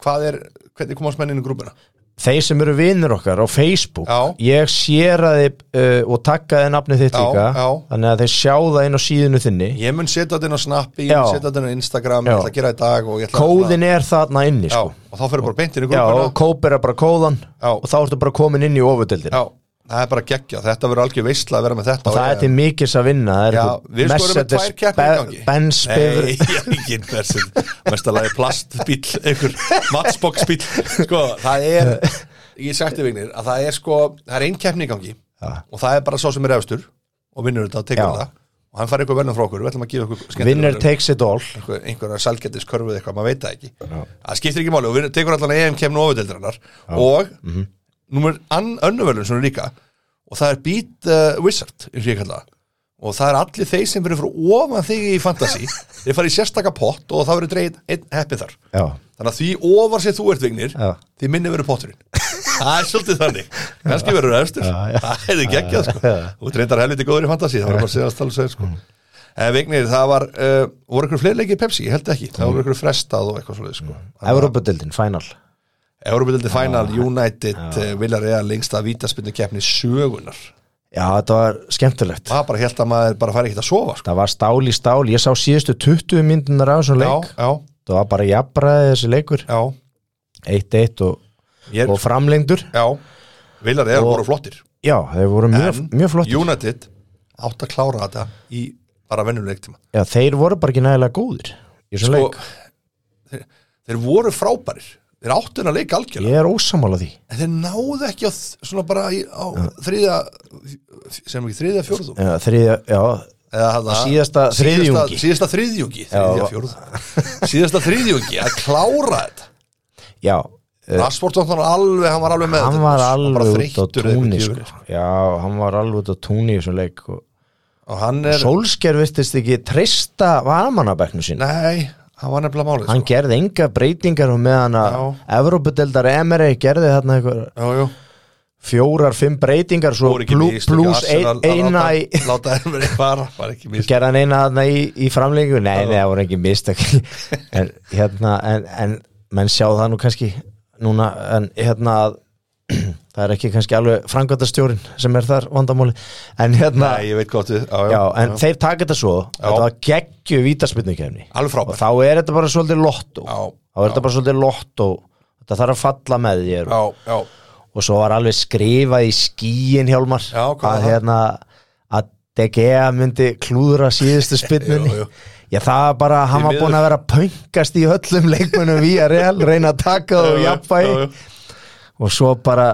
A: hvað er, hvernig komast menn inn í grúpuna?
B: þeir sem eru vinnir okkar á Facebook
A: Já.
B: ég séraði uh, og takkaði nafnið þitt
A: Já,
B: líka
A: já.
B: þannig að þeir sjá það inn á síðinu þinni
A: Ég mun setja þetta inn á Snappi, ég mun
B: Já.
A: setja þetta inn á Instagram,
B: Já.
A: ég ætla að gera þetta í dag og ég ætla
B: kóðin er þarna inni
A: Já,
B: sko.
A: og þá fyrir bara beintin í
B: já, og
A: grúpuna
B: kópera bara kóðan
A: Já.
B: og þá ertu bara komin inn í ofudeldin
A: Já, það er bara geggja, þetta verður algjör veistla að vera með þetta
B: og það
A: Ég-
B: er til mikils að vinna það er
A: Já,
B: einhver
A: við skorum með tvær keppnir í gangi.
B: Mercedes Benz
A: Nei,
B: bifur
A: ekki Mercedes Mest að lagi plastbíl, einhver matchboxbíl Sko, það er Ég sagti vignir að það er sko Það er ein keppni í gangi
B: Já.
A: Og það er bara sá sem er efstur Og vinnur þetta og tekur
B: Já.
A: þetta Og hann fær eitthvað verðum frá okkur, við ætlum að gefa okkur skemmtilega
B: winner
A: verðlaun.
B: takes it all
A: einhver, einhverja sælgættiskörfuð eitthvað, maður veit það ekki það skiptir ekki máli og við tekur allan E EM kemnu ofudeldrannar og mm -hmm. numur önnuvölun svona líka og það er Beat uh, Wizard eins og ég kalla það og það er allir þeir sem verður frá ofan þig í fantasy þeir fara í sérstaka pott og það verður dreigð einn heppið þar
B: já,
A: þannig að því ofar sér þú ert vignir
B: Já.
A: því minni verður potturinn það er svolítið þannig, kannski verður það efstur
B: Já, já.
A: það hefði geggjað sko og reyndar helviti góður í fantasy, það var bara að segja að tala segja sko
B: Mm.
A: En Vignir, það var, uh, voru ykkur fleirleiki í Pepsi, ég held ekki, það
B: Mm.
A: voru ykkur frestað og eitthvað svolítið sko.
B: Europadeldin, final
A: Európa-dildi Final, United, uh, Villarreal, lengsta vítaspindu keppni sögunar.
B: já, þetta var skemmtilegt
A: Það bara held að maður bara færi ekkert að sofa sko.
B: það var stál í stál, ég sá síðustu 20 myndunar á þessum
A: Já,
B: leik
A: já,
B: það var bara jafnbræði þessi leikur
A: já,
B: 1-1 og,
A: ég,
B: og framlengdur
A: já, Villarreal
B: Og-
A: voru flottir.
B: já, þeir voru mjög,
A: En
B: mjög flott
A: United átt að klára þetta í bara vennuleik tíma.
B: já, þeir voru bara ekki nægilega góðir í þessum
A: Sko,
B: leik,
A: þeir, þeir voru frábærir, þeir áttu hennar leik algjörlega,
B: ég er ósamála því
A: en þeir náðu ekki á, þ- svona bara í, á þriða, sem ekki þriða fjórðum.
B: já, þriðja, já,
A: eða hana,
B: Síðasta þriðjungi.
A: síðasta þriðjungi þriðja,
B: Já.
A: fjórða. síðasta þriðjungi að klára þetta
B: já
A: Rashford var þannig alveg, hann var alveg með
B: Eh. hann
A: þetta.
B: var
A: bara
B: alveg út á
A: þreyttur eða
B: túni
A: eitthvað
B: sko. já, hann var alveg út á túni í þessum leik og
A: og hann er,
B: Solskjær virtist ekki treysta varamannabæknu sín
A: nei, hann var nefnilega málið
B: hann
A: sko.
B: gerði enga breytingar og meðan að Evrópudeldar Emery gerði þarna eitthvað
A: jú, jú,
B: fjórar, fimm breytingar svo
A: voru ekki
B: plú,
A: mistök í
B: plús
A: Arsenal
B: ein,
A: að
B: eina í
A: láta, láta Emery fara, var ekki mistök
B: gerði hann eina þarna í, í framlengu nei, nei, það voru ekki mistök en hérna, en, en menn sjá það nú kannski núna, en hérna að það er ekki kannski alveg frangöndastjórin sem er þar vandamáli en hérna,
A: nei, ég veit gott við, já, já,
B: já, en þeir taka þetta svo þetta var geggju vítaspyrnukefni
A: alveg
B: og
A: frábær
B: þá er þetta bara svolítið lottó
A: já,
B: þá er þetta bara svolítið lottó þetta þarf að falla með þér
A: já, já,
B: og svo var alveg skrifað í skíin hjálmar
A: Já, hvað var
B: að
A: það?
B: hérna að De Gea myndi klúðra síðustu spynninni
A: Jú, jú.
B: já það var bara,
A: Því
B: hann var
A: miður.
B: búin að vera að pöngast í öllum leikmunum í að real reyna að taka það og jafnvægi
A: já, já.
B: og svo bara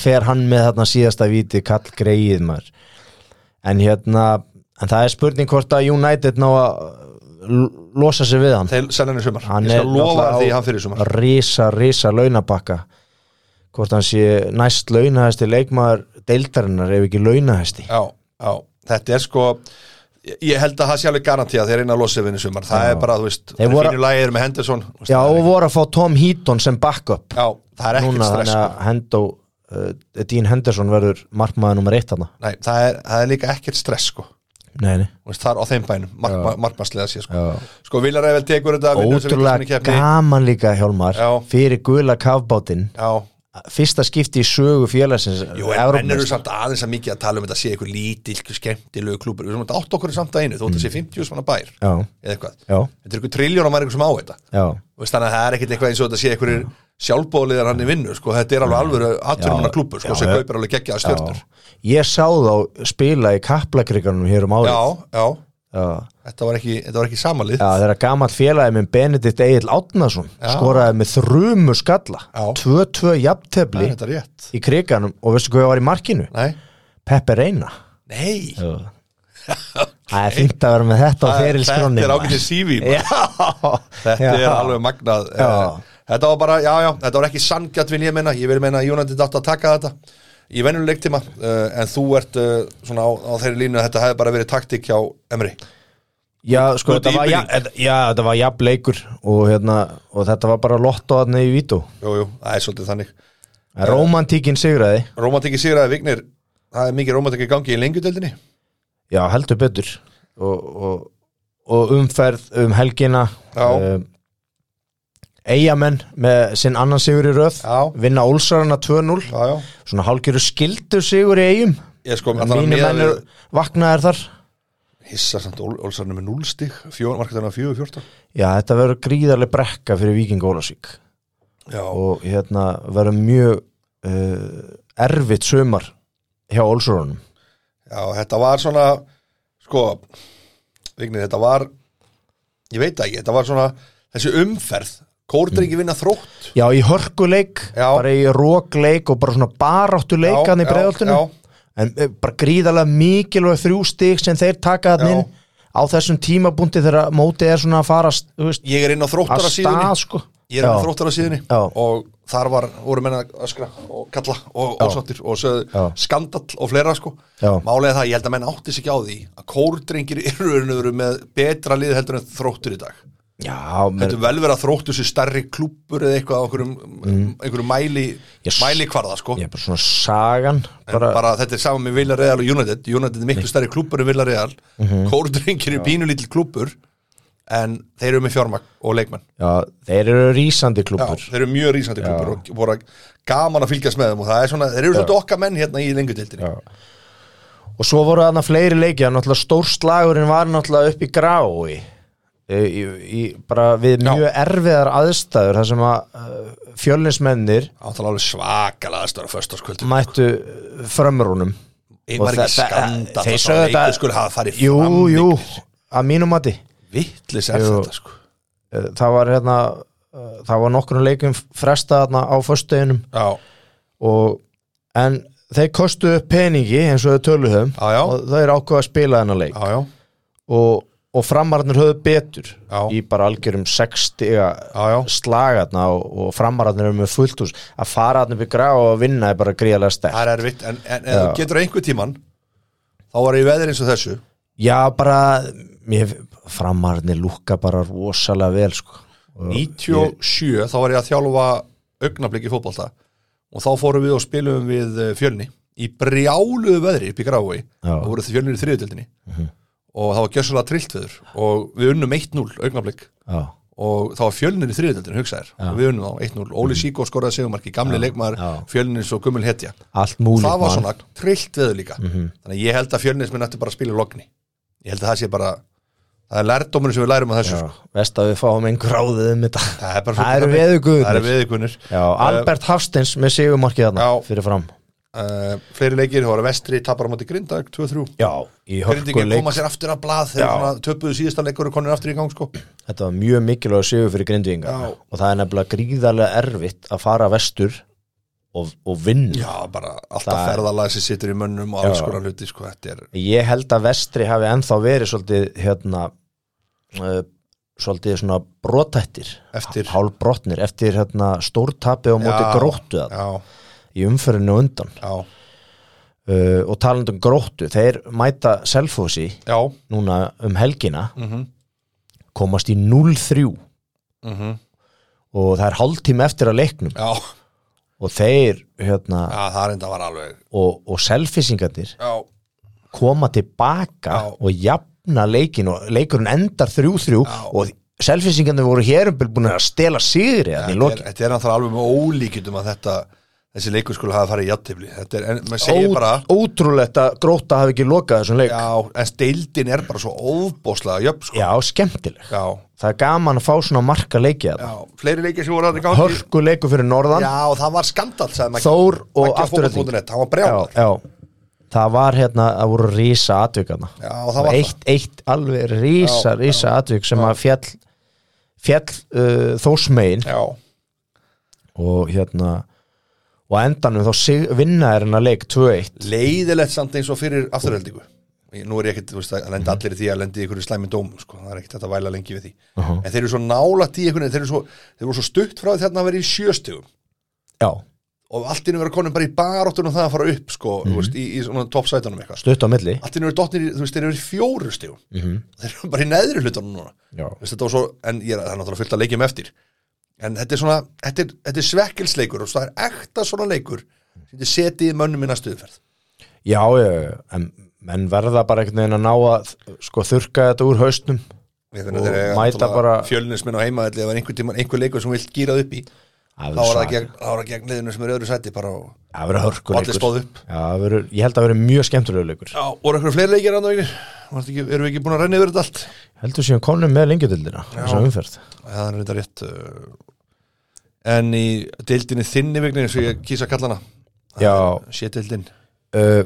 B: fer hann með þarna síðasta víti kall greið maður en hérna, en það er spurning hvort að United ná að l- losa sig við hann
A: þeir selja henni í sumar,
B: hann
A: ég
B: er
A: skal lofa
B: náttúrulega
A: því
B: á
A: hann fyrir í sumar
B: risa, risa launabakka hvort hann sé næst launahæsti leikmaður deildarinnar ef ekki launahæsti
A: já, já, þetta er sko ég- ég held að það sé alveg garantí að þeir reyna að losa við henni í sumar, það er bara, þú veist þeir
B: voru-
A: fínu lægir með Henderson þú veist,
B: já
A: það er
B: og
A: ekki-
B: voru að fá Tom Heaton sem backup
A: já, það er ekkert
B: núna
A: stress
B: þannig
A: sko.
B: að Hendo uh, Dean Henderson verður markmaður nummer eitt hann
A: Nei, það er, það er líka ekkert stress sko
B: nei, nei.
A: Þú veist, það er á þeim bænum, markma, markmannslega sé sko
B: Já.
A: sko Villarævel tekur þetta vinnur þessa
B: ótrúlega
A: vítaspyrnukeppni.
B: gaman líka Hjálmar
A: Já.
B: fyrir gula kafbátinn
A: já,
B: fyrsta skipti í sögu félagsins
A: jú, en menn eru
B: Evrópumeistara.
A: samt aðeins að mikið að tala um þetta sé eitthvað lítill, skemmtilegu klúpur við erum að átt okkur samt að einu, þú ætti að
B: Mm.
A: sé 50 svona bær
B: já,
A: eða eitthvað,
B: já,
A: þetta er eitthvað triljónum að eitthvað sem á þetta
B: já Mm.
A: Þú veist, þannig að það er ekkert eitthvað eins og þetta sé eitthvað sjálfbóðliðar hann í vinnu sko, þetta er alveg alveg aðturumanna klúpur sko,
B: Já,
A: sem
B: já.
A: kaupir alveg geggjaða stjörnur
B: Ég sá þá spila í kaplakriganum hér um
A: já,
B: árið
A: já,
B: Já.
A: þetta var ekki, þetta var ekki samalið
B: Já, þeirra gamall félagi minn Benedikt Egil Átnason
A: Já.
B: skoraði með þrumu skalla
A: Já.
B: 2-2
A: það
B: jafntefli
A: er þetta rétt
B: í kriganum og veistu hvað var í markinu?
A: nei,
B: Peppe Reina
A: nei
B: Það er fínt að vera með þetta á ferilskrónni
A: þetta er ágætið CV maður.
B: Já,
A: þetta er alveg magnað
B: Já.
A: Eh, þetta var bara, já, já, þetta var ekki sangjart vil ég meina, ég vil meina að United átt að taka þetta í venjuleg tíma en þú ert uh, svona á, á þeirri línu að þetta hefði bara verið taktik hjá Emri
B: Já, sko,
A: Út í
B: þetta var, ja,
A: byrjun.
B: þetta- já, þetta var jafn leikur og, hérna, og þetta var bara lottoðarni í vító
A: jú, jú, það er svolítið þannig
B: Romantíkin sigraði
A: Rómatikki sigraði Vignir það er mikið rómatikki gangi í lengjudeldinni
B: Já, heldur betur og, og, og umferð um helgina
A: Já.
B: um, Eyjamenn með sinn annan sigur í röð
A: Já.
B: vinna Ólsarana 2-0
A: já, já,
B: svona hálgjöru skildur sigur í Eyjum
A: ég sko allan að
B: mínu
A: miða
B: mennur
A: við-
B: vaknaðir þar
A: hissa samt Ól- Ólsarni með 0 stig marketana 4-14
B: Já, þetta verður gríðarlega brekka fyrir Víking Ólasvík
A: já,
B: og hérna verður mjög uh, erfitt sumar hjá Ólsarunum
A: já, þetta var svona sko, Vignir, þetta var ég veit það ekki, þetta var svona þessi umferð, kórdrengi vinna þrótt
B: Já, í hörkuleik,
A: Já.
B: Mm. bara í rókleik og bara svona baráttuleik hann í
A: Já, já,
B: breiðaltunum
A: já.
B: en eh, bara gríðarlega mikilvæg þrjú stig sem þeir
A: Já.
B: taka hann inn á þessum tímabúndi þegar mótið er svona að fara þú veist,
A: ég er inn á
B: að
A: þróttara
B: stað
A: síðunni
B: sko.
A: ég er inn á
B: Já.
A: þróttara síðunni
B: Já.
A: og þar var, voru menna öskra og kalla og ósáttir og sögðu
B: Já.
A: skandall og fleira sko
B: Já.
A: málega það, ég held að menn átti sig ekki á því að kórdrengir eru eru með betra lið heldur en þróttur í dag
B: Já, menn,
A: Þetta er vel verið að þróttu sér starri klúppur eða eitthvað á einhverjum, einhverjum mæli,
B: Mm. Yes.
A: mæli hvarða sko.
B: ég er bara svona sagan bara,
A: Bara þetta er saman með Villarreal og United, United er miklu starri klúppur en Villarreal, mm
B: Mhm.
A: -hmm. kórdrengir eru pínulítil klúppur en þeir eru með fjármagn og leikmenn.
B: já, þeir eru rísandi
A: Já,
B: klúpur
A: þeir eru mjög rísandi klúppur og voru gaman að fylgjast með þeim og það er svona, þeir eru svolítið okkar menn hérna í lengjutildinni.
B: Og svo voru þarna fleiri leiki að náttúrulega stórslagurinn var náttúrulega upp í grái í, í, í, bara við
A: Já.
B: mjög erfiðar aðstæður þar sem að uh, fjölinsmennir
A: Það er alveg svakalega störa föstaskvöldum.
B: mættu uh, framrúnum
A: Ég var
B: Og
A: ekki
B: þe- þe-
A: skanda
B: þeir
A: að
B: sögðu
A: það leikur
B: þetta-
A: skulle hafa farið
B: Jú,
A: fram.
B: jú, að mínum mati
A: Vittlis er
B: Jú.
A: þetta sko.
B: Eh, það var hérna eh, það var nokkrum leikum fresta þarna á föstudeginum
A: Já,
B: og en þeir kostu upp peningi eins og þau töluðum
A: já, já,
B: og þeir ákveða að spila þennan leik
A: já, já.
B: og, og framararnir höfðu betur
A: Já.
B: í bara algjörum 60
A: Já, já.
B: slagarna og, og framararnir eru með fullt hús að fara þarna upp í grá og að vinna er bara gríðarlega sterk
A: Það er erfitt, en, en ef þú getur einhver tíman þá var ég veðir eins og þessu
B: já bara mér, framararnir lúkka bara rosalega vel sko. Og
A: 97, þá var ég að þjálfa augnablik í fótbolta og þá fórum við og spilum við eh, fjölni í brjáluðu veðri upp í Grafói
B: Já. Mhm.
A: og voru þið fjölnir í þriðutöldinni og það var gjössalega trillt veður og við unnum 1-0 augnablik
B: já,
A: og það var fjölnir í þriðutöldinni, hugsaðir og við unnum þá 1-0, Óli Sýko skoraði segumarki gamli leikmaður,
B: Mhm. Já.
A: fjölnir svo gummul hetja
B: allt múlið
A: það var
B: mann.
A: svona trillt veður líka
B: Mhm.
A: þannig að ég held að fjölnismenn ætti bara að spila í logni ég held að það sé bara það er lærdómurinn sem við lærum á þessu
B: já,
A: sko.
B: veist að við fáum einn gráðið um þetta
A: það er bara
B: það
A: svolítið
B: eru
A: þannig. það eru
B: veðuguðnir
A: veðugunir
B: já, Albert Hafsteins með sigumarkið þarna
A: eh, Já.
B: fyrir fram
A: uh, fleiri leikir, það var vestri, tapar á móti grindag 2-3,
B: já, í hörku
A: grindingin koma sér aftur að blað þegar
B: Já.
A: svona töpuðu síðasta leikur og konur aftur í gang sko.
B: Þetta var mjög mikilvæg sigur fyrir grindvíinga
A: Já.
B: og það er nefnilega gríðarlega erfitt að fara vestur og, og vinna.
A: já, bara alltaf
B: Það-
A: ferðalag sem situr í mönnum og alls
B: Já.
A: konar hluti sko, þetta er
B: Ég held að vestri hafi ennþá verið svolítið hérna uh, svolítið svona brotættir
A: Eftir.
B: hálbrotnir, eftir hérna stórtapi og móti
A: Já.
B: gróttu þarna
A: já,
B: í umferðinu á undan
A: já,
B: uh, og talandum gróttu, þeir mæta selfósi
A: já
B: núna um helgina
A: mm -hmm.
B: komast í 0-3 og það er hálftíma eftir að leiknum
A: mhm, já,
B: og þeir hérna
A: já, það er enda var alveg
B: og, og selfisingarnir
A: já,
B: koma tilbaka
A: Já.
B: og jafna leikin og leikurinn endar 3-3
A: Já.
B: og selfisingarnir voru hér um búin að stela sigri
A: Já,
B: ja,
A: þetta er, þetta er náttúrulega alveg með ólíkjum að þetta þessi leikur skulle hafa farið í játtifli þetta er, en maður segir bara
B: Ó, ótrúlegt að gróta hafi ekki lokað þessum leik já,
A: já, en steildin er bara svo óbóslega jöfn sko.
B: skemmtileg
A: já,
B: það er gaman að fá svona marka leikið
A: já,
B: þarna.
A: fleiri leikir sem voru að þetta gangi
B: hörku leiku fyrir norðan
A: já, og það var skandal sagði Maggi.
B: Þór og
A: Maggi á
B: Afturelding.
A: fótbolti.net, það var
B: já,
A: brjálar já,
B: já. það var hérna það voru rísa atvikana
A: og það var
B: eitt, eitt alveg
A: Já,
B: rísa, rísa atvik sem að fjall fjall uh, þósmegin
A: það já,
B: og hérna og á endanum þá sig, vinna er hennar leik 2-1
A: leiðilegt samt eins og fyrir afturheldingu nú er ég ekkert, þú veist, að lenda allir í því að lenda í einhverju slæmi dóm, sko, það er ekkert hægt að væla lengi við því
B: Mhm.
A: en þeir eru svo nálætt í einhvern þeir eru svo, þeir eru svo stutt frá því þarna að vera í sjöstugum
B: já,
A: og allt í einu vera konum bara í baráttunum það að fara upp, sko,
B: Mhm.
A: þú veist, í, í svona toppsætunum eitthvað,
B: stutt á milli
A: allt í einu eru dottnir í- þú veist, þeir eru verið fjóru stugum
B: mm
A: þeir eru bara í neðri hlutunum núna
B: já.
A: Þú veist, þetta var svo, en ég, er- það er náttúrulega fullt að leikjum eftir en þetta er svona, þetta er, þetta er svekkilsleikur og það er ekta svona leikur sem þið setið mönnum minna stuðferð
B: já, já, já, en menn verða bara einhvern veginn að ná að sko þurka þetta úr hausnum
A: Ég finna
B: Og
A: þeir eiga
B: mæta
A: náttúrulega
B: bara-
A: Fjölnismenn á heimaðalli ef það er einhver, tíma, einhver leikur sem þú vilt gýrað upp í þá er það gegn, þá er það gegn liðinu sem er í öðru sæti bara og,
B: það verður
A: og allir
B: hörkuleikur
A: stóð upp
B: já, það verður, ég held að verður mjög skemmtulegur leikur
A: Já, voru eitthvað fleiri leikir andan veginn Varstu ekki, erum við ekki búin að renna yfir þetta allt
B: heldur síðan konum með lengjadildina þessa umferð
A: það er reynda rétt uh, en í deildinni þinni vegna eins og ég kýsa kallana
B: Já.
A: sétdeildin,
B: uh,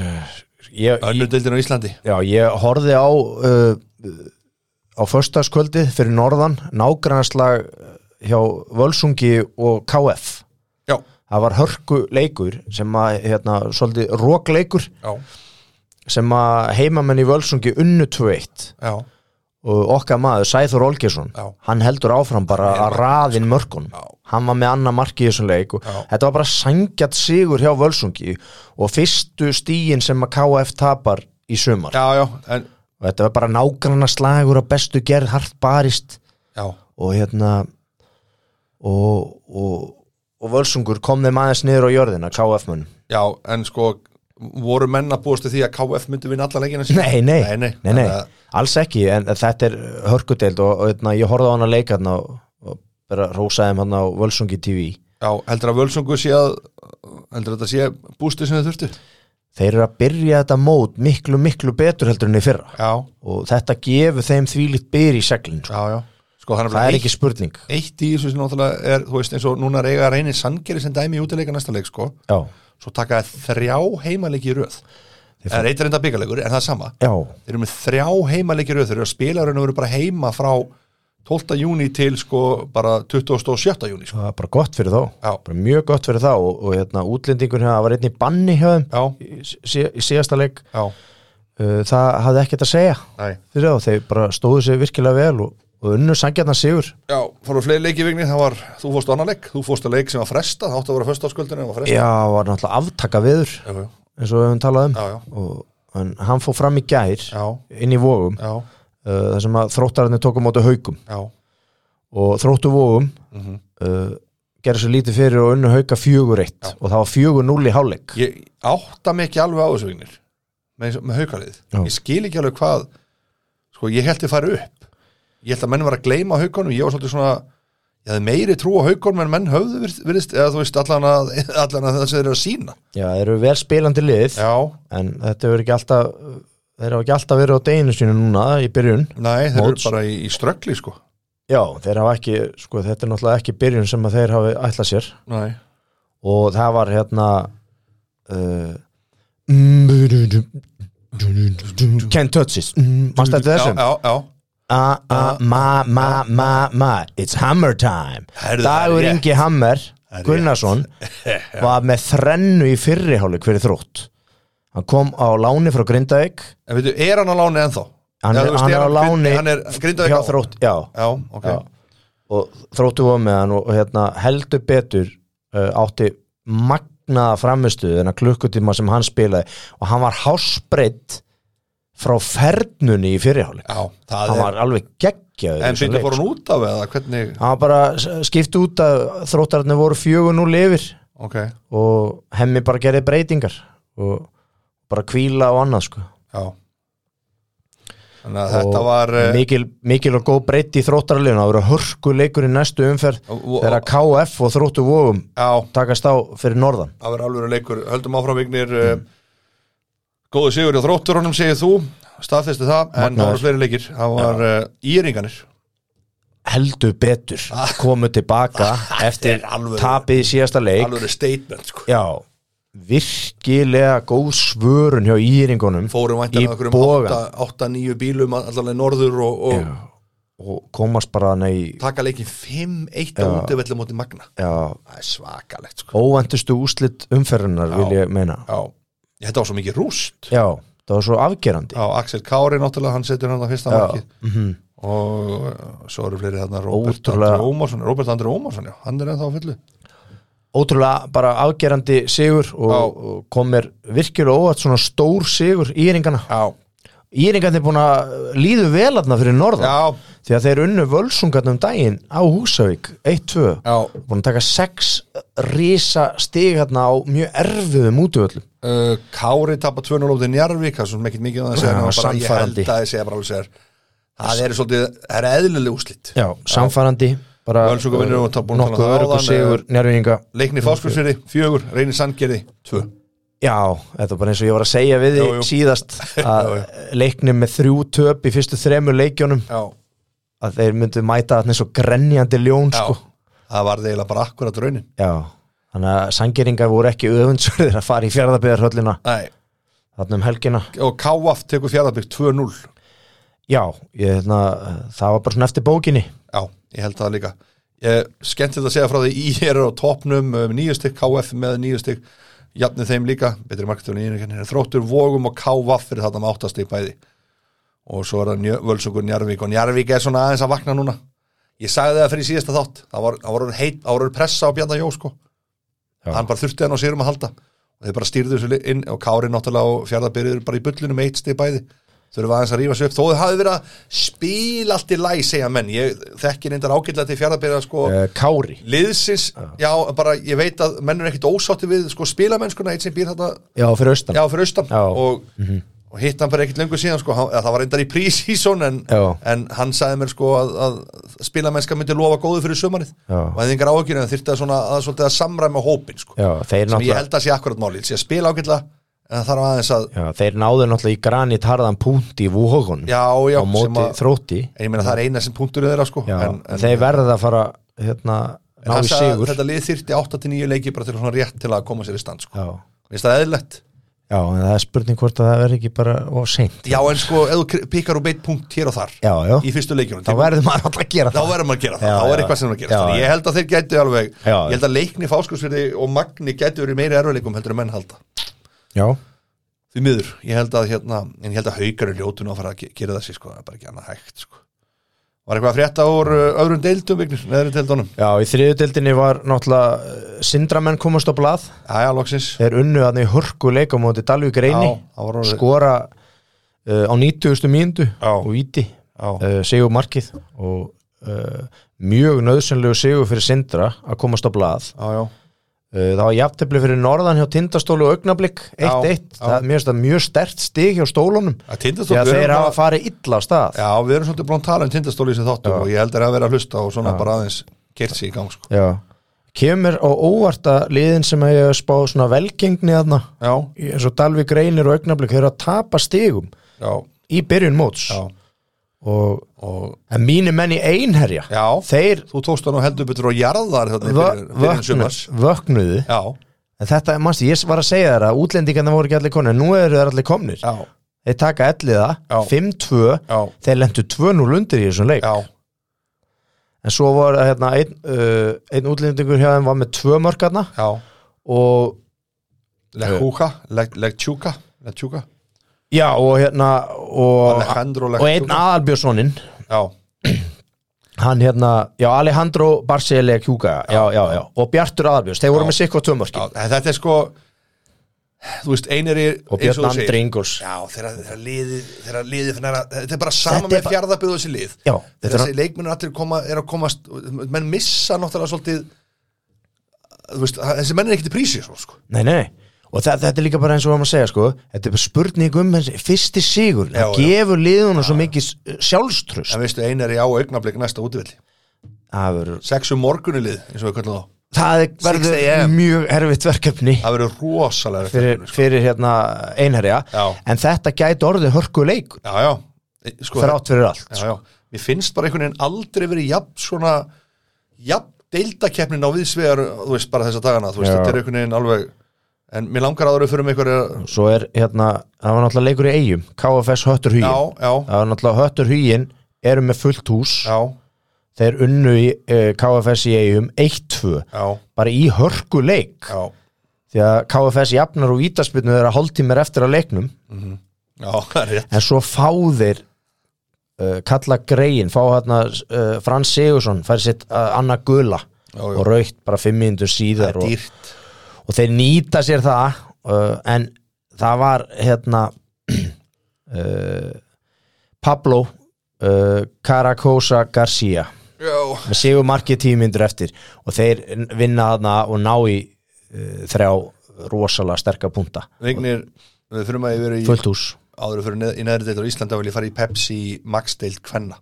B: uh, ég,
A: önnur deildin á Íslandi
B: Já, ég horfði á uh, á föstaskvöldið fyrir norðan nágrannslag hjá Völsungi og KF
A: Já,
B: það var hörku leikur sem að, hérna, svolítið rókleikur
A: já,
B: sem að heimamenn í Völsungi unnu 2-1
A: já
B: og okkar maður, Sæþór Olgesson
A: Já.
B: hann heldur áfram bara
A: Hann er
B: að raðin mörkunum
A: sko. Já.
B: hann var með annað marki í þessum leik og
A: Já.
B: þetta var bara sangjat sigur hjá Völsungi og fyrstu stíin sem að KF tapar í sumar
A: Já, já, en,
B: og þetta var bara nágranna slagur á bestu gerð hart barist
A: já
B: og hérna og, og, og völsungur kom þeim aðeins niður á jörðina KF munn
A: Já, en sko voru menn að búast við því að KF myndi vinna alla leikina sína?
B: nei, nei,
A: nei,
B: nei, nei,
A: Þannig að-
B: alls ekki en þetta er hörkudeld og, og hérna, ég horfði á hana leik hérna og, og bara rósaði hann á völsungi TV
A: Já, heldur að Völsungu sé að heldur að þetta sé bústið sem þið þurftu
B: þeir eru að byrja þetta mót miklu, miklu betur heldur enn í fyrra
A: Já,
B: og þetta gefur þeim þvílitt byr í seglin sko.
A: já, já Sko, þannig
B: það
A: að
B: er ekki spurning
A: eitt í þessu sem náttúrulega er, þú veist, eins og núna reyga reynir sangeri sem dæmi í útileika næsta leik, sko
B: já,
A: svo taka það þrjá heimaleiki í röð Það er eitt reynda byggalegur, en það er sama
B: já,
A: Þeir eru með þrjá heimaleiki í röð, þeir eru að spila raun og veru bara heima frá 12. júni til, sko, bara 27. júni, sko
B: það er bara gott fyrir þá
A: Já,
B: bara mjög gott fyrir þá og, og hérna, útlendingur hérna var einn í banni hjá þeim
A: já,
B: í, sí- í síðasta leik
A: já,
B: uh, það hafði ekkert að segja
A: nei
B: fyrir þá, þeir bara stóðu sig virkilega vel og, og unnu sangjarnar sigur
A: Já, fórum fleiri leiki í vigni, það var, þú fórst á annan leik, þú fórst að leik sem var fresta, það átti að vera föstaskvöldinu en var fresta.
B: já, var náttúrulega aftaka viður
A: Já, já,
B: eins og við höfum talað um
A: já, já,
B: og, en hann fór fram í gær
A: já,
B: inn í vógum uh,
A: já,
B: þar sem að þróttararnir tóku á móti haukum
A: já,
B: og þróttu vógum
A: mhm.
B: uh, gerði svo lítið fyrir og unnu hauka fjögur eitt og það var fjögur núl í hálfleik
A: Ég átta mig ekki alveg á þessu vignir, með, með haukalið.
B: Já.
A: Ég skil ekki alveg hvað, sko, ég held ég fari upp. Ég held að menn var að gleyma haukunum, ég var svolítið svona, ég hafði meiri trú á haukunum en menn höfðu virð- virðist, eða þú veist, allan að, allan að það sem þeir eru að sína.
B: já, þeir eru vel spilandi lið
A: Já,
B: en þetta hefur ekki alltaf þeir hafa ekki alltaf verið á deginu sínu núna í byrjun
A: nei, þeir eru
B: Móts.
A: bara í, í ströggli, sko.
B: já, þeir hafa ekki, sko þetta er náttúrulega ekki byrjun sem að þeir hafi ætlað sér
A: Nei,
B: og það var hérna uh, Ken Tutsis mannstættu
A: já,
B: þessum
A: já, já.
B: A, a, ma, ma, ma, ma it's hammer time
A: Herðu, það er
B: Dagur
A: rétt.
B: Ingi Hammer
A: Það er rétt.
B: Gunnarsson var með þrennu í fyrriháleik fyrir þrótt hann kom á láni frá Grindavík
A: En veitu, er hann á láni ennþá?
B: Hann
A: Já,
B: er-
A: þú veist,
B: hann er á láni
A: Hann er grindað
B: hjá þrótt, já,
A: Já, ok
B: já. og þróttu var með hann og, og hérna, heldur betur uh, átti magnaða framistuð þennan klukkutíma sem hann spilaði og hann var hásbreytt frá fernunni í fyrirháleik
A: Já, það
B: hann
A: er
B: var alveg geggjaður í
A: En byrja
B: þessum leik,
A: fór
B: sko.
A: hann út af eða hvernig
B: hann var bara s- skipt út að þróttararnir voru fjögur nú lifir
A: Ok, já,
B: og hemmi bara gerði breytingar og bara kvíla og annað sko
A: já Þannig að þetta var eh,
B: mikil, mikil og góð breytt í þróttarleginu það verður hörku leikur í næstu umferð
A: Og- og-
B: þegar KF og þróttu vóum
A: Já,
B: takast á fyrir norðan
A: það verður alveg leikur Höldum áfram vignir mm. Góðu sigur og þróttur honum segir þú Staðfesti það, en það
B: Magnaður.
A: voru fleiri leikir Það var uh, íringanir
B: heldur betur
A: Ah.
B: komu tilbaka eftir
A: alvöru-
B: tapið í síðasta leik
A: Alveg statement sko
B: já, virkilega góð svörun hjá íringunum
A: Fórum
B: í
A: væntanlega okkur um
B: bogan.
A: 8-9 bílum allavega norður og, og
B: og komast bara hana í
A: taka leikin 5-1 á útivellum móti Magna
B: já,
A: Það er svakalegt sko
B: óvendustu úslit umferðunar vil ég meina
A: Já, þetta var svo mikið rúst
B: já, það var svo afgerandi
A: Já, Axel Kári náttúrulega, hann setur hann á fyrsta
B: Já. Mhm.
A: markið og uh, svo eru fleiri þarna Robert
B: Ótrúlega.
A: Andri Ómarsson Robert Andri Ómarsson, já, hann er ennþá á fullu
B: ótrúlega bara afgerandi sigur og,
A: Já.
B: og kom mér virkilega óvart svona stór sigur íringana
A: Já,
B: íringarnir búin að líðu vel aðna fyrir norðan
A: já,
B: því að þeir unnu völsungarnum um daginn á Húsavík 1-2
A: já
B: búin að taka sex risa stig hérna á mjög erfiðum útvöllum
A: uh, Kári tapar 2-0 út í Njarvík, það er svona mikið mikið að það segja, en
B: Já,
A: bara ég held
B: sannfærandi.
A: að það segja bara alveg segja það eru svolítið, það eru eðlileg úslit
B: já, samfærandi bara
A: Völsungar vinnur og tapar búin að
B: nokkuð
A: tala það
B: öryggur
A: áðan,
B: sigur njárvíðinga
A: Leikni Fáskursfyrði, fjögur, Reyni Sandgerði, tvö
B: Já, þetta er bara eins og ég var að segja við
A: Jú, jú.
B: þig síðast að
A: Já,
B: leiknum með þrjú töp í fyrstu þremur leikjónum
A: Já,
B: að þeir myndu mæta þarna eins og grenjandi ljón
A: já,
B: sko.
A: það var eiginlega bara akkurat raunin
B: Já, þannig að sangeringar voru ekki öfundsverðir að fara í fjárðabæðarhöllina
A: Nei,
B: þarna um helgina
A: og Káaf tekur fjárðarbygg 2-0
B: Já, ég, hérna, það var bara svona eftir bókinni
A: Já, ég held það líka ég, Skemmtilegt að segja frá því í er á topnum um, nýju stygg, KF með nýju stygg jafnir þeim líka, betri marktölu í einhverjum þróttur vogum og KF fyrir þetta með áttastig bæði og svo er það njö, völsungur Njarvík og Njarvík er svona aðeins að vakna núna ég sagði það fyrir síðasta þátt það var, það var orðin heit, það var orðin pressa á Bjarna Jó sko.
B: Já.
A: hann bara þurfti hann á sérum að halda og þeir bara stýrðu þessu li- inn og Kári náttúrulega og fjárðabyrður bara í bullinu með eitt stið bæði þurfa aðeins að rífa sér upp þó þau hafi verið að spila allt í læ segja menn, ég þekki reyndar ágætlega til fjárðabyrða sko
B: uh, Kári
A: liðsins, já bara ég veit að menn er ekkit ósátti við sko spilamennskuna eitt sem býr þetta,
B: Já, fyrir austan
A: já fyrir austan
B: Já. Mhm.
A: og, og hitt hann bara ekkit löngu síðan sko, hann, eða það var reyndar í prísíson en,
B: Já.
A: en hann sagði mér sko að, að spilamennska myndi lofa góðu fyrir sumarið
B: Já.
A: og hefði engar áhyggjur en þyrfti að, svona, að, svolítið að samræma hópin sko
B: Já, þeir
A: sem ég
B: náttúrulega
A: held að sé akkurat málið, sé að spila ágætlega en það þarf aðeins að,
B: Já, þeir náðu náttúrulega í granit harðan punkt í vóhókun
A: já, já
B: á móti
A: sem að,
B: þrótti
A: en ég meina það er eina sem punktur þeirra sko,
B: Já,
A: en, en,
B: þeir verða að fara hérna,
A: en
B: ná
A: hann
B: í
A: sagði að
B: sigur
A: þetta lið þyrfti 8-9 leiki bara til svona rétt til að koma sér í stand sko.
B: Já,
A: veist það eðlilegt?
B: já, en það er spurning hvort að það verði ekki bara of seint
A: Já, en sko, ef þú kri- pikar úr beitt punkt hér og þar
B: Já, já,
A: í fyrstu leikjunum,
B: þá verður maður alltaf að gera
A: þá
B: það
A: verður maður að gera það,
B: Já,
A: þá er
B: já.
A: eitthvað sem maður að gera
B: Já,
A: þannig
B: já.
A: ég held að þeir gætu alveg
B: Já, já.
A: ég held að leikni fáskursfyrði og magni gætu verið meiri erfiðleikum heldur en menn halda
B: Já,
A: því miður, ég held að hérna en ég held að haukar er ljótun að fara að ge- gera þessi sko, það er bara ekki annað hægt sko. var eitthvað að frétta úr uh, öðrum deildum vignir, neðri deildunum,
B: já í þriðudeldinni var náttúrulega eh, sindramenn komast á blað
A: aðja loksins já,
B: þeir unnu að þeir hörku leika á móti Dalvík reyni
A: það var orðið
B: skora uh, á 90. mínundu
A: Já.
B: og íti
A: já,
B: uh, sigur markið og uh, mjög nöðsynlegu sigur fyrir sindra að komast á blað
A: já, já,
B: uh, það var jafntefli fyrir norðan hjá tindastólu og augnablik 1-1,
A: Já, já.
B: það er mjög, mjög stert stig hjá stólunum
A: að tindastóli
B: því að
A: við
B: þeir
A: erum
B: hafa
A: bara-
B: farið illa á stað
A: já, við erum svolítið búin að tala um tindastóli í þessi þáttum og ég held að það vera að hlusta og svona bara aðeins kert sér í gang sko.
B: Já. kemur á óvarta liðin sem að ég hef spáð svona velgengni þarna
A: já,
B: eins og Dalvik reynir og augnablik þeir eru að tapa stigum
A: já,
B: í byrjun móts
A: já
B: og
A: og
B: en mínu menn í einherja
A: Já.
B: þeir
A: þú tókst hann og heldur betur og jarðar þarna í
B: vö-
A: byrjun- byrjun
B: vöknu,
A: sumars.
B: vöknuðu
A: já,
B: en þetta, manstu, ég var að segja þér að útlendingarna voru ekki allir konir, en nú eru þeir allir komnir
A: já,
B: þeir taka elliða,
A: Já.
B: 5-2
A: já,
B: þeir lendu 2-0 undir í þessum leik
A: já
B: en svo var hérna, einn uh, ein útlendingur hjá þeim var með tvö mörkarna
A: já,
B: og Eh.
A: lekkúka lekkjúka, lekkjúka
B: já, og hérna og,
A: Alejandro
B: og einn
A: Lekkjúka
B: aðalbjörnssonin
A: já,
B: hann hérna, já Alejandro Barcelia Kjúka, já, já, já og Bjartur Aðarbjörns, þeir
A: Já.
B: voru með sikko tvömörki
A: Já, en þetta er sko þú veist, einir er
B: og Björn Andri Ingurs
A: Já, þeirra, þeirra liði, þeirra liði finna, þetta er bara sama
B: Þetta er
A: með
B: bara-
A: fjárðaböðu þessi lið
B: Já,
A: þegar
B: þetta er-
A: þessi leikmennir allir koma, er að komast menn missa náttúrulega svolítið þú veist, þessi menn er ekkit í prísi svo, sko.
B: Nei, nei, og það, þetta er líka bara eins og við varum að segja sko, þetta er bara spurning um þessi fyrsti sigur,
A: Já,
B: það
A: já.
B: gefur liðuna svo mikið s- sjálfstrust
A: En veistu, einar í á augnablik næsta útivill
B: það verður-
A: Sexu morgunilið, eins og við kallum þá
B: það er-
A: 6
B: verður
A: AM.
B: mjög erfitt verkefni
A: Það verður rosalega
B: fyrir,
A: verkefni, sko.
B: fyrir hérna einherja
A: Já.
B: en þetta gæti orðið hörku leik
A: Já, já, E, sko,
B: þrátt fyrir allt
A: já, já. Mér finnst bara einhvern veginn aldrei verið jafn svona jafn deildakeppnin á viðsvegar þú veist, bara þessa dagana, þú veist,
B: Já.
A: þetta er einhvern veginn alveg en mér langar aðra fyrir mig einhverja
B: svo er hérna, það var náttúrulega leikur í eigum KFS Höttur Hugin
A: Já, já,
B: það var náttúrulega Höttur Hugin eru með fullt hús
A: já,
B: þeir unnu í uh, KFS í eigum 1-2,
A: já,
B: bara í hörku leik
A: já
B: því að KFS jafnar og vítaspilnu þeirra hálftímar eftir að leiknum
A: Já, það er rétt
B: en svo fá þeir uh, kalla greiðin, fá hérna uh, Frans Sigursson, fær sitt uh, Anna Gula
A: Já, já.
B: og raukt bara 5 minnundur síðar og,
A: dýrt
B: og þeir nýta sér það uh, en það var hérna uh, Pablo uh, Caracosa Garcia
A: Já,
B: með sigur markið tímyndur eftir og þeir vinna þarna og ná í uh, þrjá rosalega sterka punta
A: vignir, við þurfum að ég verið í
B: fullt hús
A: áður fyrir neð, í neðri deild á Íslandi þá vil ég fara í Pepsi Max deild Kvenna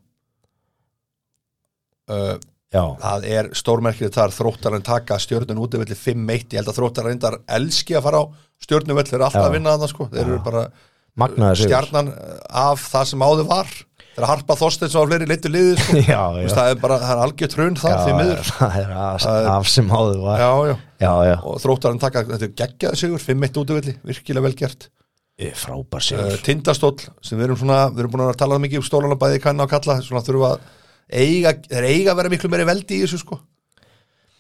A: uh,
B: já,
A: það er stórmerkilegt þar þróttarinn taka stjörnun útivillir 5-1 ég held að þróttar reyndar elski að fara á stjörnuvöll, þeir eru alltaf
B: Já.
A: að vinna þarna sko þeir eru bara
B: magnaður sigur
A: stjarnan uh, af það sem áður var þeir harpa þorsteins og fleiri litur liðið sko.
B: já,
A: Þú
B: já,
A: veist, það er bara, það er algjör trun
B: já,
A: það því miður
B: það er af,
A: Það er-
B: af sem áður var já,
A: já, já.
B: já,
A: og þróttarinn taka, þetta er geggjaði sigur 5-1 útivilli, virkilega vel gert
B: Ég- frábær
A: uh,
B: sigur
A: tindastóll sem við erum svona, við erum búin að tala mikið um stólana bæði kanna og kalla, svona þurfa að eiga, þeir eiga að vera miklu meiri veldi í þessu sko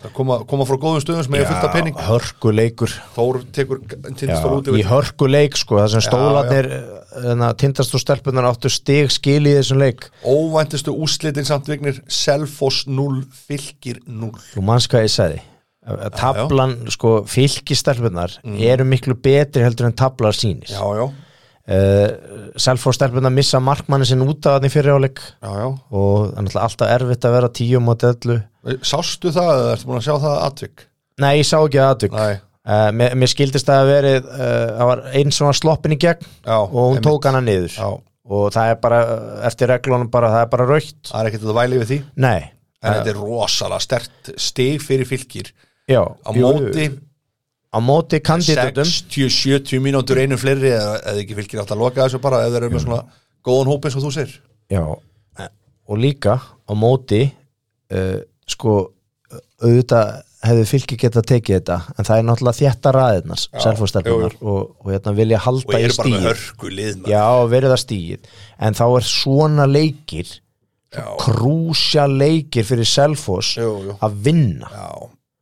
A: það koma, koma frá góðum stöðum sem eiga fullt af pening
B: hörkuleikur
A: Þór tekur
B: Já,
A: tindastól út
B: í
A: yfir
B: hörkuleik sko, það sem
A: Já,
B: stólarnir eh, hérna, tindast og stelpunar áttu stig skil í þessum leik
A: óvæntistu úslitin samt vignir Selfoss 0, Fylgir 0
B: Þú manns hvað ég sagði Eh, Tablan, sko, fylgistelpunar eru miklu betri heldur en tablar sýnir
A: Mm. já, já,
B: uh, Selfoss stelpunar missa markmanni sinn út af þannig fyrir áleik
A: já, já
B: og það er náttúrulega alltaf erfitt að vera tíu mot ellu
A: sástu það, eða ertu búin að sjá það atvik
B: Nei, ég sá ekki að aðtök uh,
A: nei,
B: mér, mér skildist það að verið uh, það var einn sem var sloppin í gegn
A: já,
B: og hún
A: einmitt.
B: tók hana niður
A: já,
B: og það er bara, eh, eftir reglunum bara, það er bara raukt
A: það er ekkert að væli við því
B: Nei,
A: en þetta er rosalega stert stig fyrir Fylgir
B: já
A: á
B: jú, jú.
A: móti
B: á móti kandidatum
A: 60-70 mínútur einu fleiri eða, eða ekki fylgir átt að loka þessu bara eða þeir eru með svona góðan hóp eins og þú sér
B: Já, eh, og líka á móti uh, sko eh, auðvitað hefðu fylki geta tekið þetta en það er náttúrulega þétta raðirnar selfóstelpunar og, og hérna vilja
A: og
B: halda í
A: eru bara með
B: stíð
A: hörku lið
B: Já, verða stíð en þá er svona leikir krúsja leikir fyrir selfós
A: Jú, jú.
B: að vinna
A: já.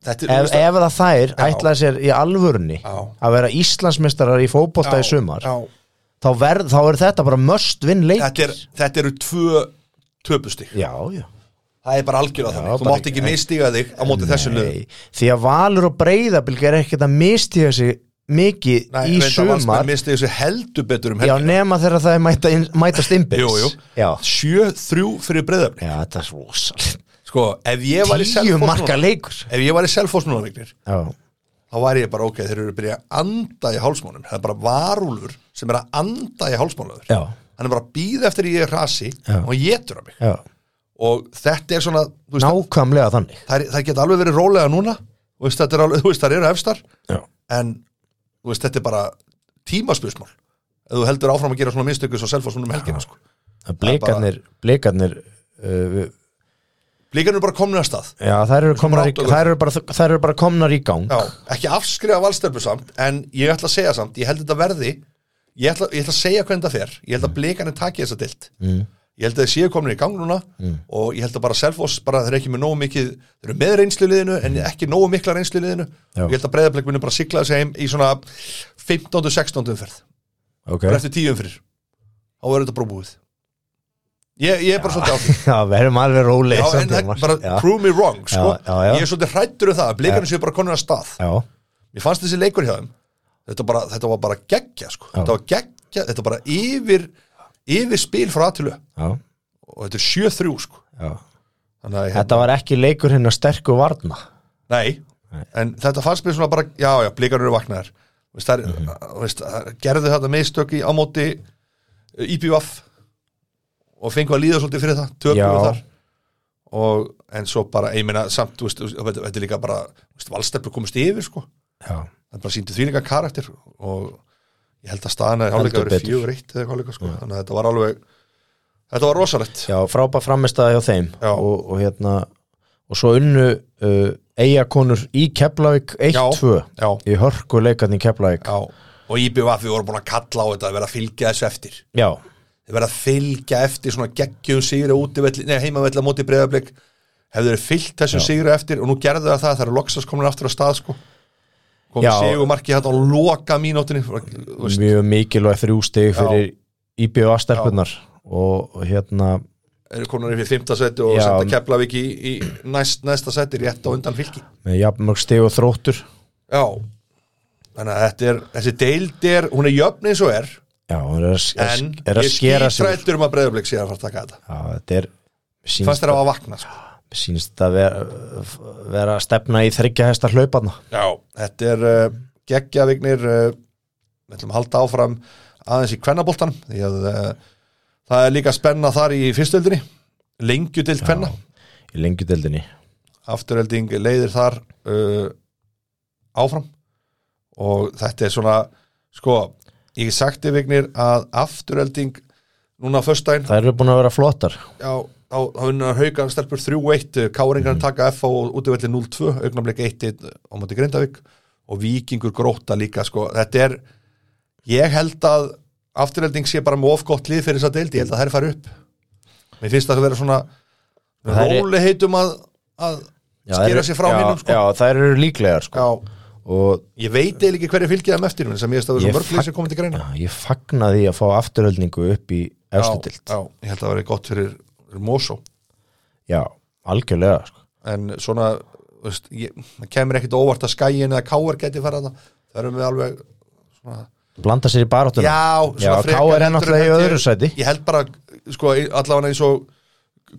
A: Þetta er,
B: ef,
A: þú veist
B: ef það þær ætlaði sér í alvörunni
A: Já.
B: að vera Íslandsmeistarar í fótbolta í
A: Já,
B: sumar
A: já.
B: þá, verð, þá er þetta bara must win
A: þetta,
B: leikir
A: er, þetta eru tvö töpustig,
B: Já, já
A: það er bara algjörða þannig þú
B: bara
A: mátt ekki mistiga þig á móti þessu lið
B: Nei, því að Valur og Breiðabilg er ekkert að mistiða sig mikið í sumar
A: mistiga þessu heldur betur um
B: já,
A: helgina
B: nema þegar það er mæta inn, mætast innbyrðs
A: Jú, jú.
B: Já.
A: 7-3 fyrir breyðafni
B: já, þetta er rosalega
A: sko, ef ég var í
B: tíu
A: Selfoss
B: marka
A: núna-
B: leikur
A: ef ég var í Selfoss núna vignir
B: já,
A: þá væri ég bara ok, þeir eru að byrja að anda í hálsmánum það er bara varúlfur sem er að anda í hálsmánlaður
B: Já.
A: hann er bara að býða eftir að ég rasi
B: Já.
A: og getur að mig
B: já.
A: og þetta er svona, þú veist,
B: nákvæmlega þannig
A: það, það geta alveg verið rólega núna þú veist, þetta er alveg, þú veist, það eru efstar
B: já.
A: en þú veist, þetta er bara tímaspjörsmál ef þú heldur áfram að gera svona minnstöku svo selfa svona um helgina sko.
B: Það blikarnir, blikarnir uh,
A: líka nú bara komnir að stað
B: já, þær eru, komnar í,
A: áttu okkur.
B: þær, eru bara, þær eru bara komnar í gang
A: Já, ekki afskrifa valstörpu samt en ég ætla að segja samt, ég held þetta verði ég ætla, ég ætla að segja hvernig það fer ég held að blikarnir taki þessa dild mm. ég held að þeir séu komin í gang núna og ég held að bara Selfoss, bara þeir eru ekki með nógu mikið þeir eru með reynsluliðinu en ekki nógu mikla reynsluliðinu
B: Já.
A: og ég held að breyðarblik muni bara sigla þessu heim í svona 15-16 umferð
B: ok,
A: bara eftir 10 umferðir um þá verður þetta bara búið ég, ég er bara svolítið á því
B: já, verðum alveg róleg
A: Já, en það, bara
B: já,
A: prove me wrong sko.
B: Já, já, já.
A: ég er svolítið hrættur um það að blikarnir séu bara komin að stað
B: já,
A: Mér fannst þessi leikur hjá þeim Þetta, bara, þetta var bara geggja sko. Þetta var geggja, þetta var bara yfir yfir spil frá aðtölu
B: já,
A: og þetta er 7-3 sko.
B: já.
A: Þannig að, hérna,
B: þetta var ekki leikur hinn að sterku varna
A: nei, en þetta fannst mér svona bara, já já, blikarnir eru vaknaðar veist, það, er,
B: Mhm.
A: mm veist, það er- gerðu þetta meðstök í ámóti IPVF og fengu að líða svolítið fyrir það tökum
B: Já.
A: við þar og, en svo bara, ég meina samt þú veist, þú veist, þetta þetta er líka bara, þú veist, valstefnur komust yfir sko,
B: já,
A: það er bara síndi þvílinga karakter og ég held að staðan að hálfleika
B: Heldur
A: verið
B: betur.
A: fjögur eitt eða hálfleika sko, þannig að þetta var alveg þetta var rosalegt
B: já frábær framistæði hjá þeim
A: Já.
B: og, og hérna og svo unnu uh, eigakonur í Keflavík 1-2
A: já,
B: í hörku leikarni í Keflavík
A: já, og IPVF við vorum búin að kalla á þetta að vera að fylgja þessu eftir
B: já,
A: þeir verða að fylgja eftir svona geggjum sigri útivelli, nei heimavelli á móti breyðablik hefur þeir fylgt þessum
B: Já.
A: sigri eftir og nú gerðu það það, það eru loksast komin aftur á stað sko
B: Já.
A: komið sigumarki hætt á loka mínútinni þú veist,
B: mjög mikilvæg þrjú stig fyrir IBA stelpunar og og hérna
A: eru konar yfir fymta seti og
B: Já.
A: senda Keflavík í, í næst, næsta seti rétt á undan fylki
B: með jafnmörg stig og þróttur
A: já, þannig að þetta er þessi deild er, hún er jöfn eins og er
B: já, hún er að,
A: en
B: en, er að
A: ég
B: skera sig úr.
A: skýtrættur um að breyðablik sé að fara að taka þetta
B: já, þetta er
A: fannst
B: sínst,
A: þeir á að vakna sko.
B: sínst að vera, vera að stefna í þryggja hesta hlauparna
A: Já, þetta er uh, geggjavignir uh, við ætlum að halda áfram aðeins í kvennaboltanum því að uh, það er líka spenna þar í fyrstöldinni lengjudild kvenna,
B: í lengjudeldinni
A: afturölding leiðir þar uh, áfram og þetta er svona sko, ég hef sagt í vignir að afturölding núna föstudaginn,
B: það eru búin að vera flottar
A: já, þá þá vinna haugan stelpur 3-1,
B: Mhm.
A: káringarinn taka F og útivelli 0-2, augnablik 1-1 á móti Grindavík og vikingur gróta líka, sko, þetta er ég held að afturhelding sé bara með of gott lið fyrir þess að deildi, ég held að þær fara upp mér finnst það að vera svona
B: Þær er-
A: róli heitum að, að
B: Já,
A: skera
B: þær eru-
A: sig frá
B: já,
A: hinnum, sko
B: já, það eru líklegar sko.
A: já,
B: og
A: ég veit eða ekki hverju fylgið þeim eftir, menn sem ég veist að það
B: Ég
A: er svo mörg
B: fag-
A: lið sem komið til greina
B: já, ég fagna því að fá afturöldningu upp
A: já,
B: í efstutild
A: já, ég held að það veri gott fyrir, fyrir Mosó
B: já, algjörlega sko.
A: en svona þú veist, ég, það kemur ekkit á óvart að skæin eða káar geti fara það það erum við alveg svona,
B: blanda sér í baráttuna
A: já, svona frekar
B: Já, KR er
A: heldur en
B: náttúrulega í
A: held ég-
B: öðru sæti.
A: ég held bara, sko, allavega eins og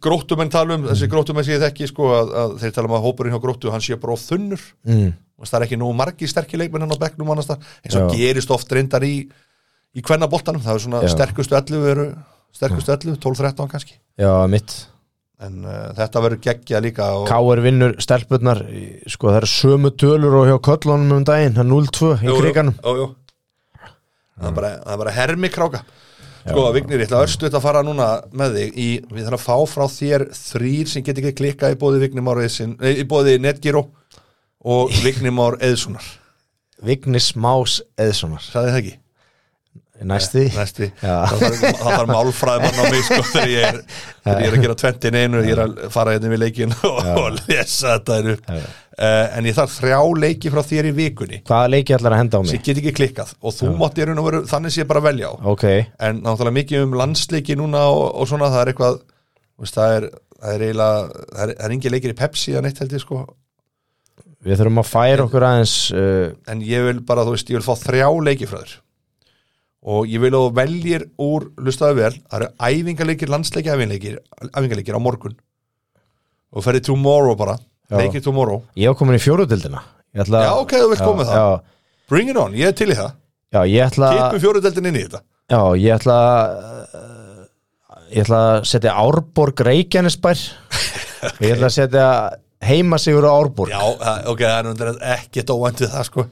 A: gróttumenn tala um,
B: Mm.
A: þessi gróttumenn sem ég þekki sko, að, að þeir tala um að hópurinn hjá gróttu hann sé bara of þunnur,
B: mm.
A: Þú veist, það er ekki nú margi sterkir leikmenn hann á bekknum annars það, eins og
B: Já.
A: gerist oft reyndar í í kvennaboltanum, það er svona
B: Já.
A: sterkustu 11 eru, sterkustu 11, 12-13 kannski
B: já, mitt
A: en uh, þetta verður geggja líka og,
B: K.R. vinnur stelpurnar í- sko það eru sömu tölur og hjá köllunum um daginn, það er 0-2 í
A: Jú, jú,
B: kriganum
A: jú, jú. Það, er bara, það er bara hermikráka sko Vignir, ég ætla að örstu þetta að fara núna með þig í, við þarfum að fá frá þér þrýr sem get ekki klikkað í bóði Vignir Már Eðsson nei, í bóði Netgyro og Vignir Már Eðssonar
B: Vignis Más Eðssonar
A: sagði það ekki,
B: næsti,
A: næsti
B: Já.
A: það þarf, það þarf málfræði mann á mig sko þegar ég er, þegar ég er að gera tventin einu ég er að fara hérna við leikin og, og lesa þetta hérna upp uh, en ég þarf þrjá leiki frá þér í vikunni
B: hvaða leiki ætlar að henda á mig
A: sem get ekki klikkað og þú mátt ég raun og veru þannig sé bara að velja á
B: ok,
A: en náttúrulega mikið um landsleiki núna og, og svona það er eitthvað þú veist, það er, það er eiginlega það er, það er engin leikir í Pepsi að neitt held ég sko
B: við þurfum að færa okkur aðeins uh,
A: en ég vil bara, þú veist, ég vil fá þrjá leiki frá þér og ég vil að þú veljir úr, lustaðu vel það eru æfingaleikir, landsleiki, æfingaleikir æfingaleikir á morgun og þú ferði tomorrow bara,
B: Já.
A: leikir tomorrow
B: ég var komin í fjórudildina ætla,
A: já ok, þú vilt koma með það,
B: já,
A: bring it on, ég er til í það
B: já, ég ætla
A: kipum fjóruðeldin inn í þetta
B: já, ég ætla uh, ég ætla að setja Árborg Reykjanesbær ég ætla að setja heimasigur á Árborg
A: já, það- ok, það er náttúrulega ekkert óvænt við það sko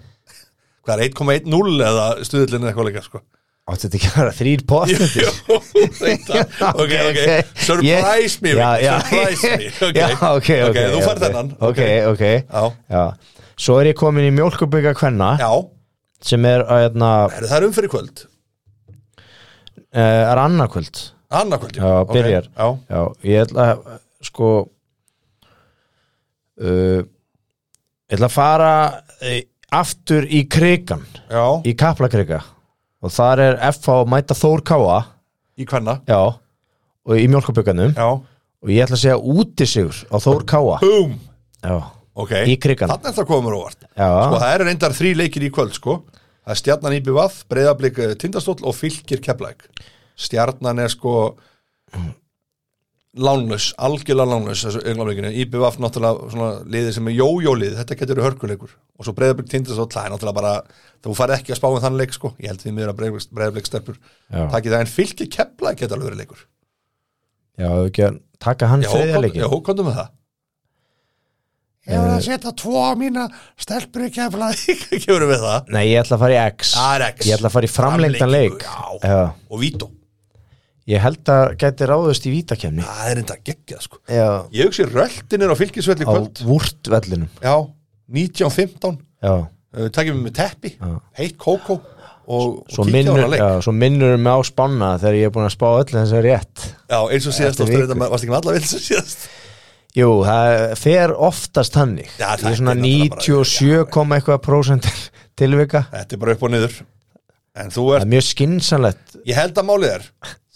A: hvað er 1,10 eða stuðullin eitthvað leika sko
B: áttu þetta ekki að vera þrýr postnendir
A: Jú, þetta. ok, ok, surprise me
B: já, já.
A: surprise me, ok,
B: já, ok, ok,
A: þú færð
B: ok.
A: þennan
B: ok, ok,
A: Já,
B: já svo er ég komin í mjólkubygga kvenna
A: já,
B: sem er, að, hérna,
A: Heru, það er umfyrir kvöld
B: eh, er annarkvöld
A: annarkvöld,
B: Já, byrjar.
A: já,
B: já, ég ætla að, sko uh, ég ætla að fara eh, aftur í krigan
A: já,
B: í kaplakrika og þar er FH mæta Þór Káa
A: í hvenna
B: já, og í mjólkubygganum
A: já,
B: og ég ætla að segja útisigur á Þór Káa
A: boom,
B: já
A: ok
B: Í kriganum.
A: þannig að það komur óvart
B: Já,
A: sko, það eru reyndar þrý leikir í kvöld, sko það er stjarnan í BVF, breyðablik tindastóll og fylgir keflæk stjarnan er sko lánlaus, algjörlega lánlaus þessu englamleikinu, IBVF náttúrulega svona liðið sem er jójólið, þetta getur verið hörkuleikur og svo breyðablik tindast og það er náttúrulega bara þú fari ekki að spá um þann leik sko ég held því miður að breyðablik stelpur
B: Já.
A: takið það en fylgir kepla geta alveg verið leikur
B: Já, ef við ekki að taka hann
A: Já, kom-
B: þriðarleikin
A: já, komdu með það Ég var að setja tvo á mína stelpur í kepla gefur við það
B: Nei, ég ætla að fara í X
A: Það er X.
B: Ég ætla að fara í framlengdan leik
A: Framlengingu, já.
B: Já.
A: og vító,
B: Ég held að gæti ráðust í vítakefni
A: það er enda geggjað sko
B: Já,
A: ég hugsi röltin er á fylgisvelli
B: á
A: kvöld
B: vúrtvellinum
A: já, 19.15
B: Já,
A: uh, takkjum við með teppi, heitt kókó og,
B: svo
A: og kíkja á
B: minnur,
A: hana leik já.
B: já, svo minnur mig á spanna þegar ég er búin að spá öllu þess að rétt
A: eins og síðast, varstu
B: Eftir viku.
A: reynda- varstu ekki með alla vilsa síðast
B: Jú, það fer oftast hannig
A: Já,
B: Ég
A: það
B: er svona
A: er náttúrulega bara-
B: 97, koma eitthvað prósent tilvika
A: þetta er bara upp og niður en þú
B: Það
A: ert,
B: er mjög skinsanlegt
A: ég held að málið er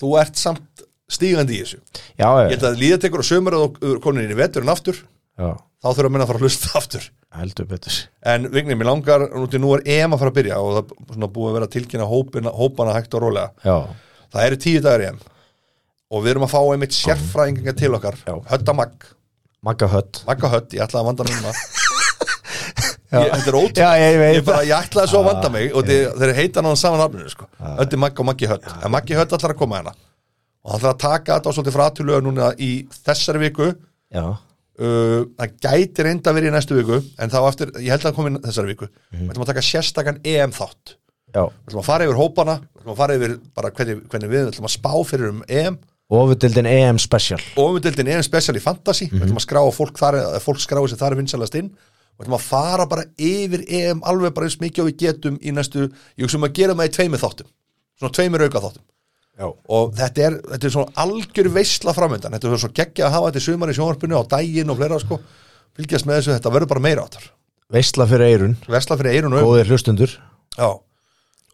A: þú ert samt stígandi í þessu ég
B: Já, já,
A: held að líða tekur á sömur og konin inn í veturinn aftur
B: já,
A: þá þurfum minna að fara að hlusta aftur
B: heldur betur
A: en Vignir, mér langar, núti nú er EM að fara að byrja og það er svona búið að vera að tilkynna hópina, hópana hægt og rólega
B: Já,
A: Það eru tíu dagar í enn og við erum að fá einmitt sérfræðinga til okkar
B: Já.
A: Hötta Magg,
B: Magga Hött
A: Magga Hött, ég ætlaði að vanda mig um það Ég- Þetta er ótrúlega
B: Já, ég
A: Ég,
B: veit
A: bara, ég ætlaði svo að vanda mig og þeir, þeir heita náðan saman nafninu sko. Ötti Magg og Maggi Hött en Maggi Hött ætlar að koma hérna og hann ætlar að taka þetta á svolítið fratulöga núna í þessari viku
B: Já,
A: uh, það gæti reynda að vera í næstu viku en þá eftir, ég held að það komi í þessari viku
B: Mhm.
A: við ætlum að taka sérstakan EM þátt við
B: já
A: ætlum að fara yfir hópana við ætlum að fara yfir bara hvernig, hvernig við við ætlum að spá fyrir um EM
B: Ofudildin EM E Special
A: ofundildin er en special í fantasy við ætlum að skrá fólk þar eða fólk skrái sem þar er vinsalast inn við ætlum að fara bara yfir EM alveg bara eins mikið og við getum í næstu ég hugsa um að gera það í tveimur þáttum svona tveimur auka þáttum
B: Já
A: og þetta er, þetta er svona algjör veisla framöndan þetta er svo geggja að hafa þetta í sumar í sjónvarpinu á daginn og fleira sko fylgjast með þessu, þetta verður bara meira áttar
B: Veistla fyrir eirun,
A: vesla fyrir eirun og augun
B: góðir hlustundur
A: Já,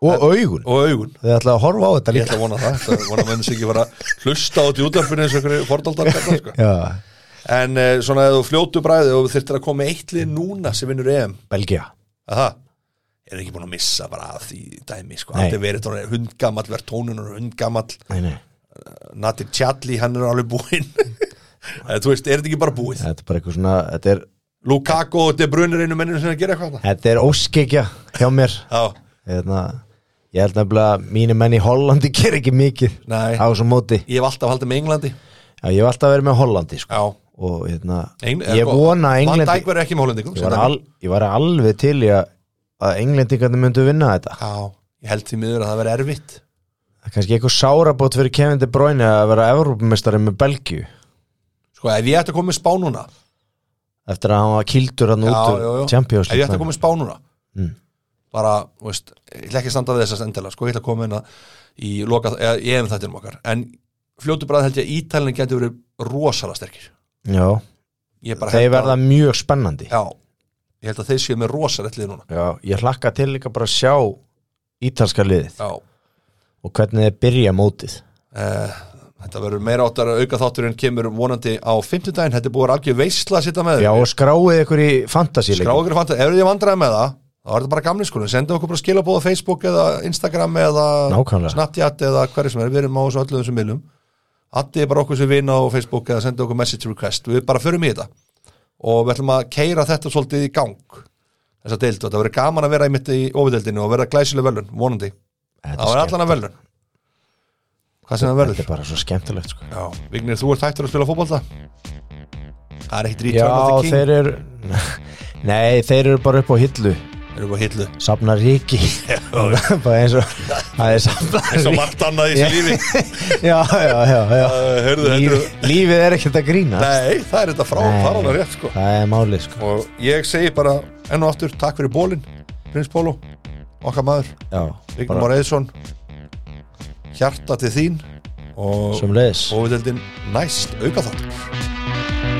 B: Og augun
A: og augun
B: Þið ætlaði að horfa á þetta
A: ég
B: líka
A: ætla að vona það, ég ætla að vona að menn sig ekki fara að hlusta á þetta í útvarpinu eins og einhverju fordaldar sko.
B: Já,
A: En eh, svona eða þú fljótu bræði og þyrftir að koma með eitt lið núna sem vinnur EM
B: Belgia
A: Aha. Er ekki búin að missa bara af því dæmi sko.
B: Nei.
A: Allt er verið tónir hundgamall, verð tónunur hundgamall
B: Nei, nei,
A: Nadir Tjalli, hann er alveg búinn Eh, Þú veist, er þetta ekki bara búið?
B: þetta er bara eitthvað svona Þetta er,
A: Lukaku og De Bruyne er einu mennir sem er að gera eitthvað þarna.
B: þetta er óskikja hjá mér
A: Já,
B: Þetta Ég held nefnilega að mínu menn í Hollandi ger ekki mikið
A: Nei.
B: á þessum móti
A: ég hef alltaf haldið með Englandi
B: Já, ég hef alltaf verið með Hollandi sko.
A: Já,
B: og hérna,
A: Engl-
B: ég
A: sko,
B: vona að
A: Van
B: Englandi
A: Dijk verður ekki með Hollendingum
B: ég
A: sem
B: var,
A: dæmi.
B: al, ég var alveg til í að, að englendingarnir myndu vinna þetta
A: Já, ég held því miður að það verður erfitt
B: það er kannski eitthvað sárabót fyrir Kevin De Bruyne að vera Evrópumestari með Belgíu
A: Sko, ef ég ætti að koma með spá núna
B: eftir að hann var kildur hann
A: Já,
B: út úr
A: já, já.
B: Champions
A: Ef ég ætti að
B: League
A: koma með spá núna
B: Mm.
A: Bara, þú veist, ég ætla ekki að standa við þessast endilega Sko, ég ætla að koma inn að í loka eða, Ég hef þættinum okkar En fljótu bræð held ég að Ítalinn geti verið rosalega sterkir
B: já,
A: Ég bara
B: þeir
A: held að
B: verða mjög spennandi já.
A: Já, ég held að þeir séu með rosalegt lið núna
B: ég hlakka til líka bara að sjá ítalska liðið
A: Já,
B: og hvernig þeir byrja mótið
A: eh, þetta verður meira áttar að auka þátturinn kemur vonandi á fimmtudaginn Þetta er búið að vera algjör veisla að sitja með
B: já, og skráið ykkur í
A: Skrá
B: fantasíleikum
A: okkur fanta, ef ég vandraði með það þá er þetta bara gamli skólinn, senda okkur bara skilabóð á Facebook eða Instagram eða
B: Nákvæmlega.
A: Snapchat eða hverju sem er, við erum á þessu öllu þessum miðlum Addi er bara okkur sem vina á Facebook eða senda okkur message request, við bara förum í þetta og við ætlum að keira þetta svolítið í gang þessa deildu, þetta verður gaman að vera í mitt í ofideildinu og verða glæsileg velun, vonandi
B: þetta
A: það verður
B: er skemmt-
A: allan að velun hvað sem það
B: þetta
A: verður
B: er bara svo skemmtilegt sko.
A: Já, Vignir, þú ert hættur að spila fótbolta Það er ekkit
B: já,
A: return of the king
B: þeir eru nei, þeir eru bara upp á hillu
A: Erum við á hillu
B: safna ríki bara eins og það er safna
A: eins og margt annað í þessu lífi
B: já, já, já, já.
A: Uh, heyrðu,
B: Líf,
A: heyrðu.
B: lífið er ekkert að grína
A: Nei, það er þetta frá
B: Nei.
A: faranlega rétt sko
B: það er málið sko
A: og ég segi bara enn og aftur takk fyrir bólin, prins Pólo okkar maður,
B: já,
A: Vignum
B: bara
A: Már Eðsson hjarta til þín og
B: sem leiðis
A: ofiðeldin næst auka þáttur